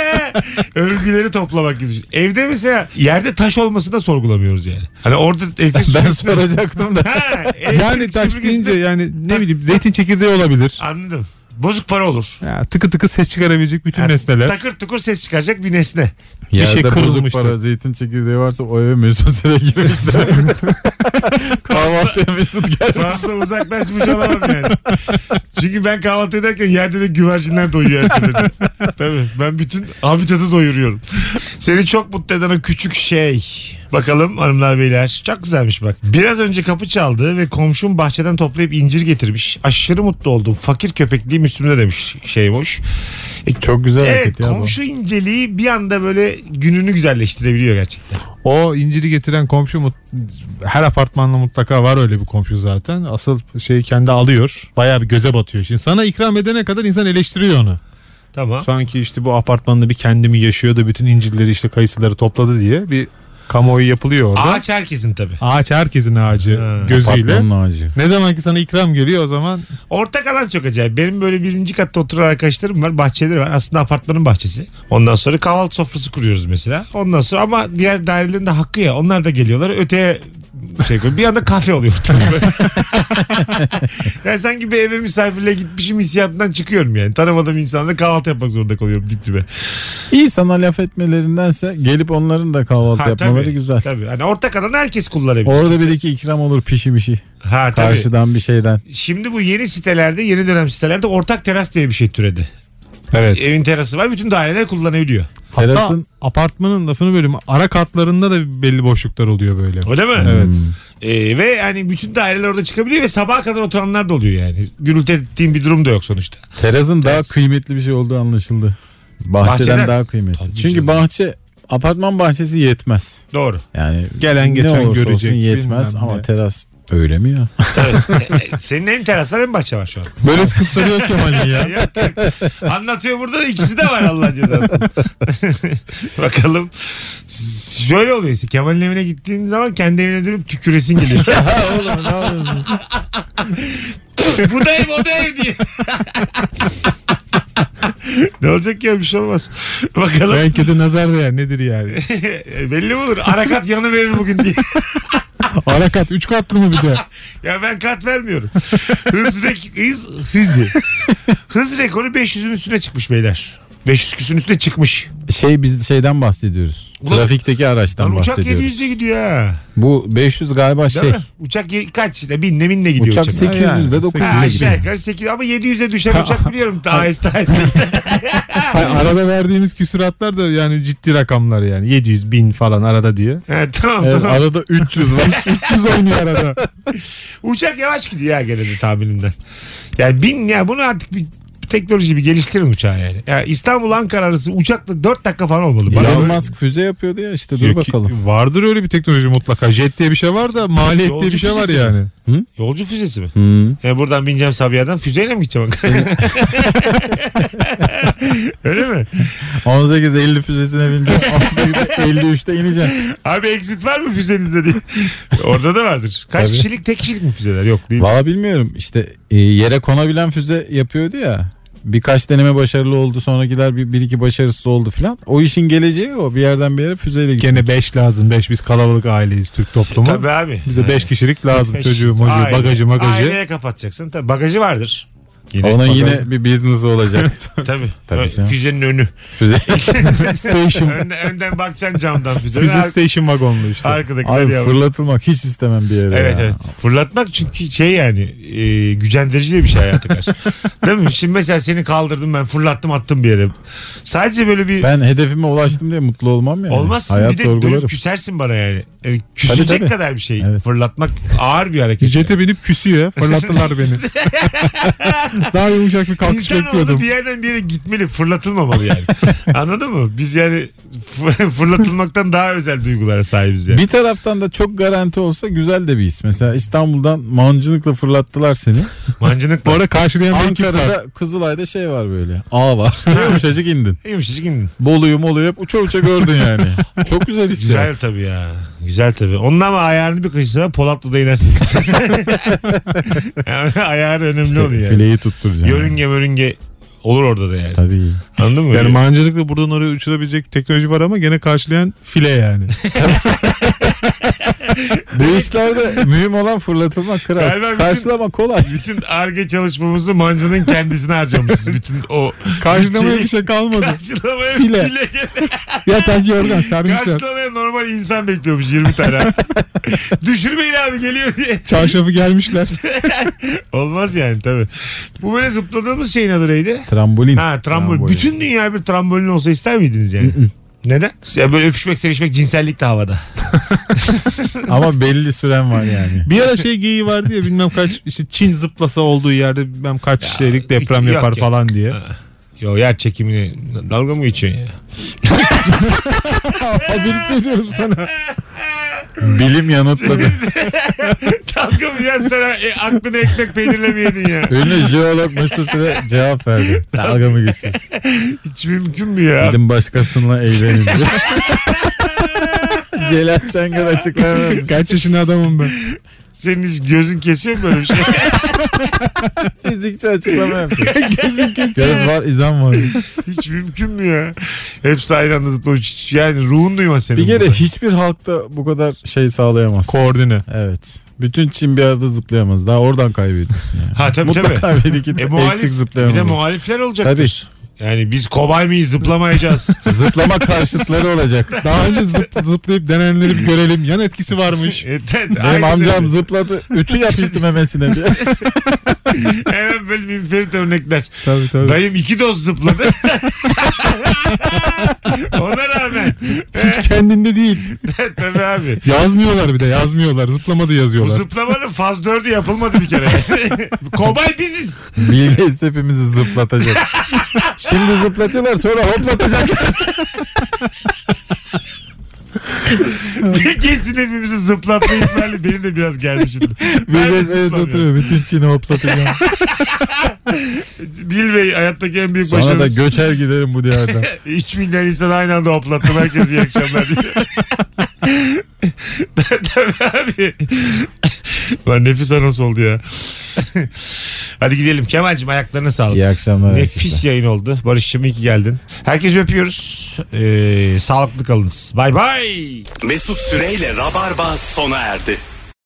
Speaker 2: övgüleri toplamak gibi. düşün. Evde mesela yerde taş olmasını da sorgulamıyoruz yani. Hani orada elektrik
Speaker 4: Ben
Speaker 2: süpürgesi-
Speaker 4: soracaktım da.
Speaker 2: Ha, elektrik
Speaker 3: yani taş
Speaker 2: süpürgesi de-
Speaker 3: deyince yani ne bileyim zeytin çekirdeği olabilir.
Speaker 2: Anladım. Bozuk para olur.
Speaker 3: Ya, tıkı tıkı ses çıkarabilecek bütün
Speaker 2: Ha,
Speaker 3: nesneler.
Speaker 2: Takır tukur ses çıkaracak bir nesne.
Speaker 4: Yerde
Speaker 3: şey
Speaker 4: bozuk
Speaker 3: kırılmıştı.
Speaker 4: para zeytin çekirdeği varsa o eve Mesut Süre girmişler. Kahvaltıya Mesut gelmiş.
Speaker 2: Fazla uzaklaşmış olamam yani. Çünkü ben kahvaltı ederken yerde de güvercinler doyuyor. erteledi. Tabii ben bütün habitatı doyuruyorum. Seni çok mutlu eden o küçük şey. Bakalım hanımlar beyler. Çok güzelmiş bak. Biraz önce kapı çaldı ve komşum bahçeden toplayıp incir getirmiş. Aşırı mutlu oldum. Fakir köpekliğim üstümde demiş şeymiş.
Speaker 4: Çok güzel
Speaker 2: Evet
Speaker 4: hareket ya
Speaker 2: E,
Speaker 4: bu.
Speaker 2: komşu inceliği bir anda böyle gününü güzelleştirebiliyor gerçekten.
Speaker 3: O inciri getiren komşu mut- her apartmanda mutlaka var öyle bir komşu zaten. Asıl şeyi kendi alıyor. Bayağı bir göze batıyor. Şimdi sana ikram edene kadar insan eleştiriyor onu.
Speaker 2: Tamam.
Speaker 3: Sanki işte bu apartmanda bir kendimi yaşıyor da bütün incirleri işte kayısıları topladı diye bir kamuoyu yapılıyor orada. Ağaç,
Speaker 2: Ağaç herkesin tabii.
Speaker 3: herkesin ağacı
Speaker 2: Ha.
Speaker 3: gözüyle.
Speaker 4: Patronun ağacı.
Speaker 3: Ne zaman ki sana ikram geliyor o zaman
Speaker 2: Ortak alan çok acayip. Benim böyle birinci katta oturan arkadaşlarım var. Bahçeleri var. Aslında apartmanın bahçesi. Ondan sonra kahvaltı sofrası kuruyoruz mesela. Ondan sonra ama diğer dairelerin de hakkı ya. Onlar da geliyorlar. Öteye şey koyuyor. Bir anda kafe oluyor ortalık. yani sanki bir eve misafirliğe gitmişim hissiyatından çıkıyorum yani. Tanımadığım insanla kahvaltı yapmak zorunda kalıyorum dip dibe.
Speaker 4: İyi sana laf etmelerindense gelip onların da kahvaltı
Speaker 2: Ha,
Speaker 4: yapmaları
Speaker 2: tabii,
Speaker 4: güzel.
Speaker 2: Tabii. Hani ortak alan herkes kullanabilir.
Speaker 4: Orada bir iki ikram olur pişi bir şey.
Speaker 2: ha, tabii.
Speaker 4: Karşıdan bir şeyden.
Speaker 2: Şimdi bu yeni sitelerde, yeni dönem sitelerde ortak teras diye bir şey türedi.
Speaker 3: evet.
Speaker 2: Evin terası var. Bütün daireler kullanabiliyor.
Speaker 4: Terasın
Speaker 3: apartmanın lafını bölüm ara katlarında da belli boşluklar oluyor böyle.
Speaker 2: Öyle mi?
Speaker 3: Evet.
Speaker 2: Ee, ve yani bütün daireler orada çıkabiliyor ve sabaha kadar oturanlar da oluyor yani. Gürültü ettiğim bir durum da yok sonuçta.
Speaker 4: terasın daha kıymetli bir şey olduğu anlaşıldı. Bahçeden,
Speaker 2: Bahçeden-
Speaker 4: daha kıymetli.
Speaker 2: Tabii
Speaker 4: Çünkü
Speaker 2: canım.
Speaker 4: bahçe apartman bahçesi yetmez.
Speaker 2: Doğru.
Speaker 4: Yani
Speaker 3: Gelen
Speaker 4: ne
Speaker 3: geçen
Speaker 4: olursa
Speaker 3: görecek,
Speaker 4: olsun yetmez
Speaker 3: bilmem
Speaker 4: ama
Speaker 3: ne.
Speaker 4: teras öyle mi ya?
Speaker 2: Ee, Senin hem teras var hem bahçe var şu an.
Speaker 4: Böyle sıkıntılıyor Kemal'in ya.
Speaker 2: Yok, yok. Anlatıyor burada da ikisi de var Allah cezası. Bakalım. Şöyle oluyor işte. Kemal'in evine gittiğin zaman kendi evine dönüp tüküresin geliyor.
Speaker 4: Oğlum ne yapıyorsunuz?
Speaker 2: Bu da ev o da ev diye. ne olacak ki ya bir şey olmaz. Bakalım.
Speaker 3: En kötü nazar değer nedir yani?
Speaker 2: Belli mi olur? Arakat yanı verir bugün diye.
Speaker 3: Ara kat 3 katlı mı bir de?
Speaker 2: Ya ben kat vermiyorum. Hız, rek- hız, hızı. Hız rekoru 500'ün üstüne çıkmış beyler. 500 küsün üstüne çıkmış.
Speaker 4: Şey biz şeyden bahsediyoruz.
Speaker 2: Ulan-
Speaker 4: Trafikteki
Speaker 2: Lan
Speaker 4: araçtan
Speaker 2: uçak
Speaker 4: bahsediyoruz.
Speaker 2: 700'e gidiyor ha.
Speaker 4: Bu 500 galiba
Speaker 2: Değil
Speaker 4: şey.
Speaker 2: mi? Uçak ye- kaç? işte binle binle gidiyor
Speaker 4: Uçak 800 de
Speaker 3: Yani,
Speaker 4: 900
Speaker 2: Ha, şey.
Speaker 4: de
Speaker 2: aşağı
Speaker 4: gidiyor.
Speaker 2: yukarı 8 ama 700'e düşen uçak biliyorum daha esti
Speaker 3: Hayır, arada verdiğimiz küsuratlar da yani ciddi rakamlar yani. 700 bin falan arada diye.
Speaker 2: Ha, tamam
Speaker 4: Evet,
Speaker 2: tamam.
Speaker 4: arada 300 var.
Speaker 3: 300 oynuyor arada.
Speaker 2: Uçak yavaş gidiyor ya gene de tahmininden. Yani bin ya bunu artık bir bir teknoloji bir geliştirin uçağı yani. Ya İstanbul Ankara arası uçakla 4 dakika falan olmalı. Bana
Speaker 4: Elon
Speaker 2: öyle-
Speaker 4: Musk füze yapıyordu ya işte dur
Speaker 3: Yok,
Speaker 4: bakalım.
Speaker 3: Vardır öyle bir teknoloji mutlaka. Jet diye bir şey var da maliyet diye
Speaker 2: Yolcu
Speaker 3: bir şey var
Speaker 2: füzesi
Speaker 3: yani.
Speaker 2: Yolcu füzesi mi?
Speaker 4: Hı.
Speaker 2: Ya E, buradan bineceğim Sabiha'dan füzeyle mi gideceğim? Öyle mi?
Speaker 4: 18.50 füzesine bineceğim. 18.53'te ineceğim.
Speaker 2: Abi exit var mı füzenizde diye. Orada da vardır. Kaç
Speaker 4: Tabii.
Speaker 2: kişilik tek kişilik mi füzeler? Yok değil.
Speaker 4: Valla bilmiyorum işte e, yere konabilen füze yapıyordu ya. Birkaç deneme başarılı oldu sonrakiler bir, bir iki başarısız oldu filan. O işin geleceği o bir yerden bir yere füzeyle gidiyor.
Speaker 3: Gene 5 lazım 5 biz kalabalık aileyiz Türk toplumu.
Speaker 2: Tabii abi.
Speaker 3: Bize 5 kişilik lazım
Speaker 2: Beş-
Speaker 3: çocuğu mocuğu
Speaker 2: Aile-
Speaker 3: bagajı magajı.
Speaker 2: Aileye kapatacaksın. Tabii bagajı vardır.
Speaker 4: Onun
Speaker 3: bagaj-
Speaker 4: yine bir biznesi olacak.
Speaker 2: Tabii.
Speaker 4: Tabii
Speaker 2: Ö-
Speaker 4: canım.
Speaker 2: Füzenin önü.
Speaker 4: füze.
Speaker 3: Station.
Speaker 2: Önden, önden bakacaksın camdan füzenin.
Speaker 3: Füze
Speaker 2: Ar-
Speaker 3: station vagonlu işte.
Speaker 2: arkadakiler
Speaker 4: Abi
Speaker 2: yavrum.
Speaker 4: fırlatılmak hiç istemem bir yere.
Speaker 2: Evet
Speaker 4: ya.
Speaker 2: evet. Fırlatmak çünkü şey yani e, gücendirici de bir şey hayata karşı. Değil mi? Şimdi mesela seni kaldırdım ben fırlattım attım bir yere. Sadece böyle bir
Speaker 4: Ben hedefime ulaştım diye mutlu olmam yani.
Speaker 2: olmazsın
Speaker 4: Hayat
Speaker 2: bir de
Speaker 4: sorgularım.
Speaker 2: dönüp küsersin bana yani. E, küsecek
Speaker 4: Tabii, tabii.
Speaker 2: kadar bir şey.
Speaker 4: Evet.
Speaker 2: Fırlatmak ağır bir hareket.
Speaker 3: Jete binip küsüyor. Fırlattılar beni. Daha yumuşak bir kalkış
Speaker 2: İnsanoğlu
Speaker 3: bekliyordum.
Speaker 2: bir yerden bir yere gitmeli fırlatılmamalı yani. Anladın mı? Biz yani f- fırlatılmaktan daha özel duygulara sahibiz yani.
Speaker 4: Bir taraftan da çok garanti olsa güzel de bir his. Mesela İstanbul'dan mancınıkla fırlattılar seni.
Speaker 2: Mancınık
Speaker 3: Bu arada karşılayan bir ekip var.
Speaker 4: Ankara'da Kızılay'da şey var böyle. Ağ var. Yumuşacık indin.
Speaker 2: Yumuşacık indin.
Speaker 4: Bolu'yu moluyu hep uça uça gördün yani. Çok güzel
Speaker 2: Güzel
Speaker 4: hissiyat.
Speaker 2: tabii ya. Güzel tabii. Onun ama ayarını bir kaçırsa Polatlı'da inersin. yani ayar önemli
Speaker 4: İşte
Speaker 2: oluyor. şey Yani.
Speaker 4: fileyi tutturacaksın.
Speaker 2: Yörünge mörünge olur orada da yani.
Speaker 4: Tabii.
Speaker 2: Anladın mı?
Speaker 3: Yani mancınıkla buradan oraya uçurabilecek teknoloji var ama gene karşılayan file yani.
Speaker 4: Bu işlerde mühim olan fırlatılmak
Speaker 2: Galiba
Speaker 4: kral.
Speaker 2: bütün-
Speaker 4: Karşılama kolay.
Speaker 2: bütün arge çalışmamızı mancının kendisine harcamışız. Bütün o
Speaker 3: Karşılamaya bir şey kalmadı.
Speaker 2: karşılamaya
Speaker 3: File.
Speaker 2: file gel-
Speaker 3: Yatak yorgan servis yap.
Speaker 2: Karşılamaya normal insan bekliyormuş 20 tane. Düşürmeyin abi geliyor diye.
Speaker 3: Çarşafı gelmişler.
Speaker 2: Olmaz yani tabii. Bu böyle zıpladığımız şeyin adı neydi?
Speaker 4: Trambolin.
Speaker 2: Ha trambolin.
Speaker 4: Trambolin.
Speaker 2: Bütün dünya bir trambolin olsa ister miydiniz yani? Neden? Ya böyle öpüşmek, sevişmek, cinsellik de havada.
Speaker 4: Ama belli süren var yani.
Speaker 3: Bir ara şey geyiği vardı ya bilmem kaç işte Çin zıplasa olduğu yerde bilmem kaç şeylik deprem
Speaker 2: yok
Speaker 3: yapar
Speaker 2: ya.
Speaker 3: falan diye.
Speaker 2: Yo yer çekimini dalga mı geçiyorsun ya?
Speaker 3: Haberi söylüyorum şey sana.
Speaker 4: Bilim yanıtladı.
Speaker 2: dalga mı yer sana e, aklını ekmek peynirle mi yedin ya?
Speaker 4: Ünlü jeolog Mesut Süre cevap verdi. Dalga mı geçeceğiz?
Speaker 2: Hiç mümkün mü ya?
Speaker 4: Gidin başkasıyla eğlenin diyor. Celal Şengör açıklama vermiş.
Speaker 3: Kaç yaşında adamım ben.
Speaker 2: Senin hiç gözün kesiyor mu böyle bir şey?
Speaker 4: Fizikçi açıklama yapıyor. Göz var izan var.
Speaker 2: hiç mümkün mü ya? Hepsi aynı anda zıplamış. Yani ruhun duymaz senin.
Speaker 4: Bir kere
Speaker 2: burada.
Speaker 4: hiçbir halkta bu kadar şey sağlayamaz.
Speaker 3: Koordine.
Speaker 4: evet. Bütün Çin bir arada zıplayamaz. Daha oradan kaybediyorsun yani.
Speaker 2: Ha tabii tabii.
Speaker 4: Mutlaka bir iki
Speaker 2: E,
Speaker 4: eksik
Speaker 2: muhalif, bir de
Speaker 4: zıplayamaz.
Speaker 2: muhalifler olacaktır. Yani biz kobay mıyız zıplamayacağız.
Speaker 4: Zıplama karşıtları olacak.
Speaker 3: Daha önce zıp- zıplayıp denenleri bir görelim. Yan etkisi varmış.
Speaker 2: E, te- aynen
Speaker 4: Benim amcam
Speaker 2: öyle.
Speaker 4: zıpladı. Ütü yapıştı memesine diye.
Speaker 2: Hemen böyle münferit örnekler.
Speaker 3: Tabii tabii.
Speaker 2: Dayım iki doz zıpladı. Ona rağmen.
Speaker 3: Hiç kendinde değil.
Speaker 2: Tabii abi.
Speaker 3: Yazmıyorlar bir de yazmıyorlar. Zıplamadı
Speaker 2: Bu
Speaker 3: yazıyorlar.
Speaker 2: zıplamanın faz dördü yapılmadı bir kere. Kobay biziz.
Speaker 4: Bill Gates hepimizi zıplatacak. Şimdi zıplatıyorlar sonra hoplatacak.
Speaker 2: Kesin hepimizi zıplatma ihtimali benim de biraz geldi şimdi.
Speaker 4: Bill
Speaker 2: Ben de
Speaker 4: Gates evde
Speaker 2: zıplamıyorum.
Speaker 4: oturuyor. Bütün Çin'i hoplatacak.
Speaker 2: Bil Bey hayattaki en büyük
Speaker 4: Sonra da
Speaker 2: başarımız.
Speaker 4: göçer giderim bu diyardan.
Speaker 2: 3 milyar insan aynı anda hoplattım. Herkese iyi akşamlar diye. Tabii abi. Lan nefis anons oldu ya. Hadi gidelim. Kemal'cim ayaklarına sağlık.
Speaker 4: İyi akşamlar.
Speaker 2: Nefis yayın oldu. Barış'cığım iyi ki geldin. Herkesi öpüyoruz. Ee, sağlıklı kalınız. Bay bay.
Speaker 1: Mesut Süreyle Rabarba sona erdi.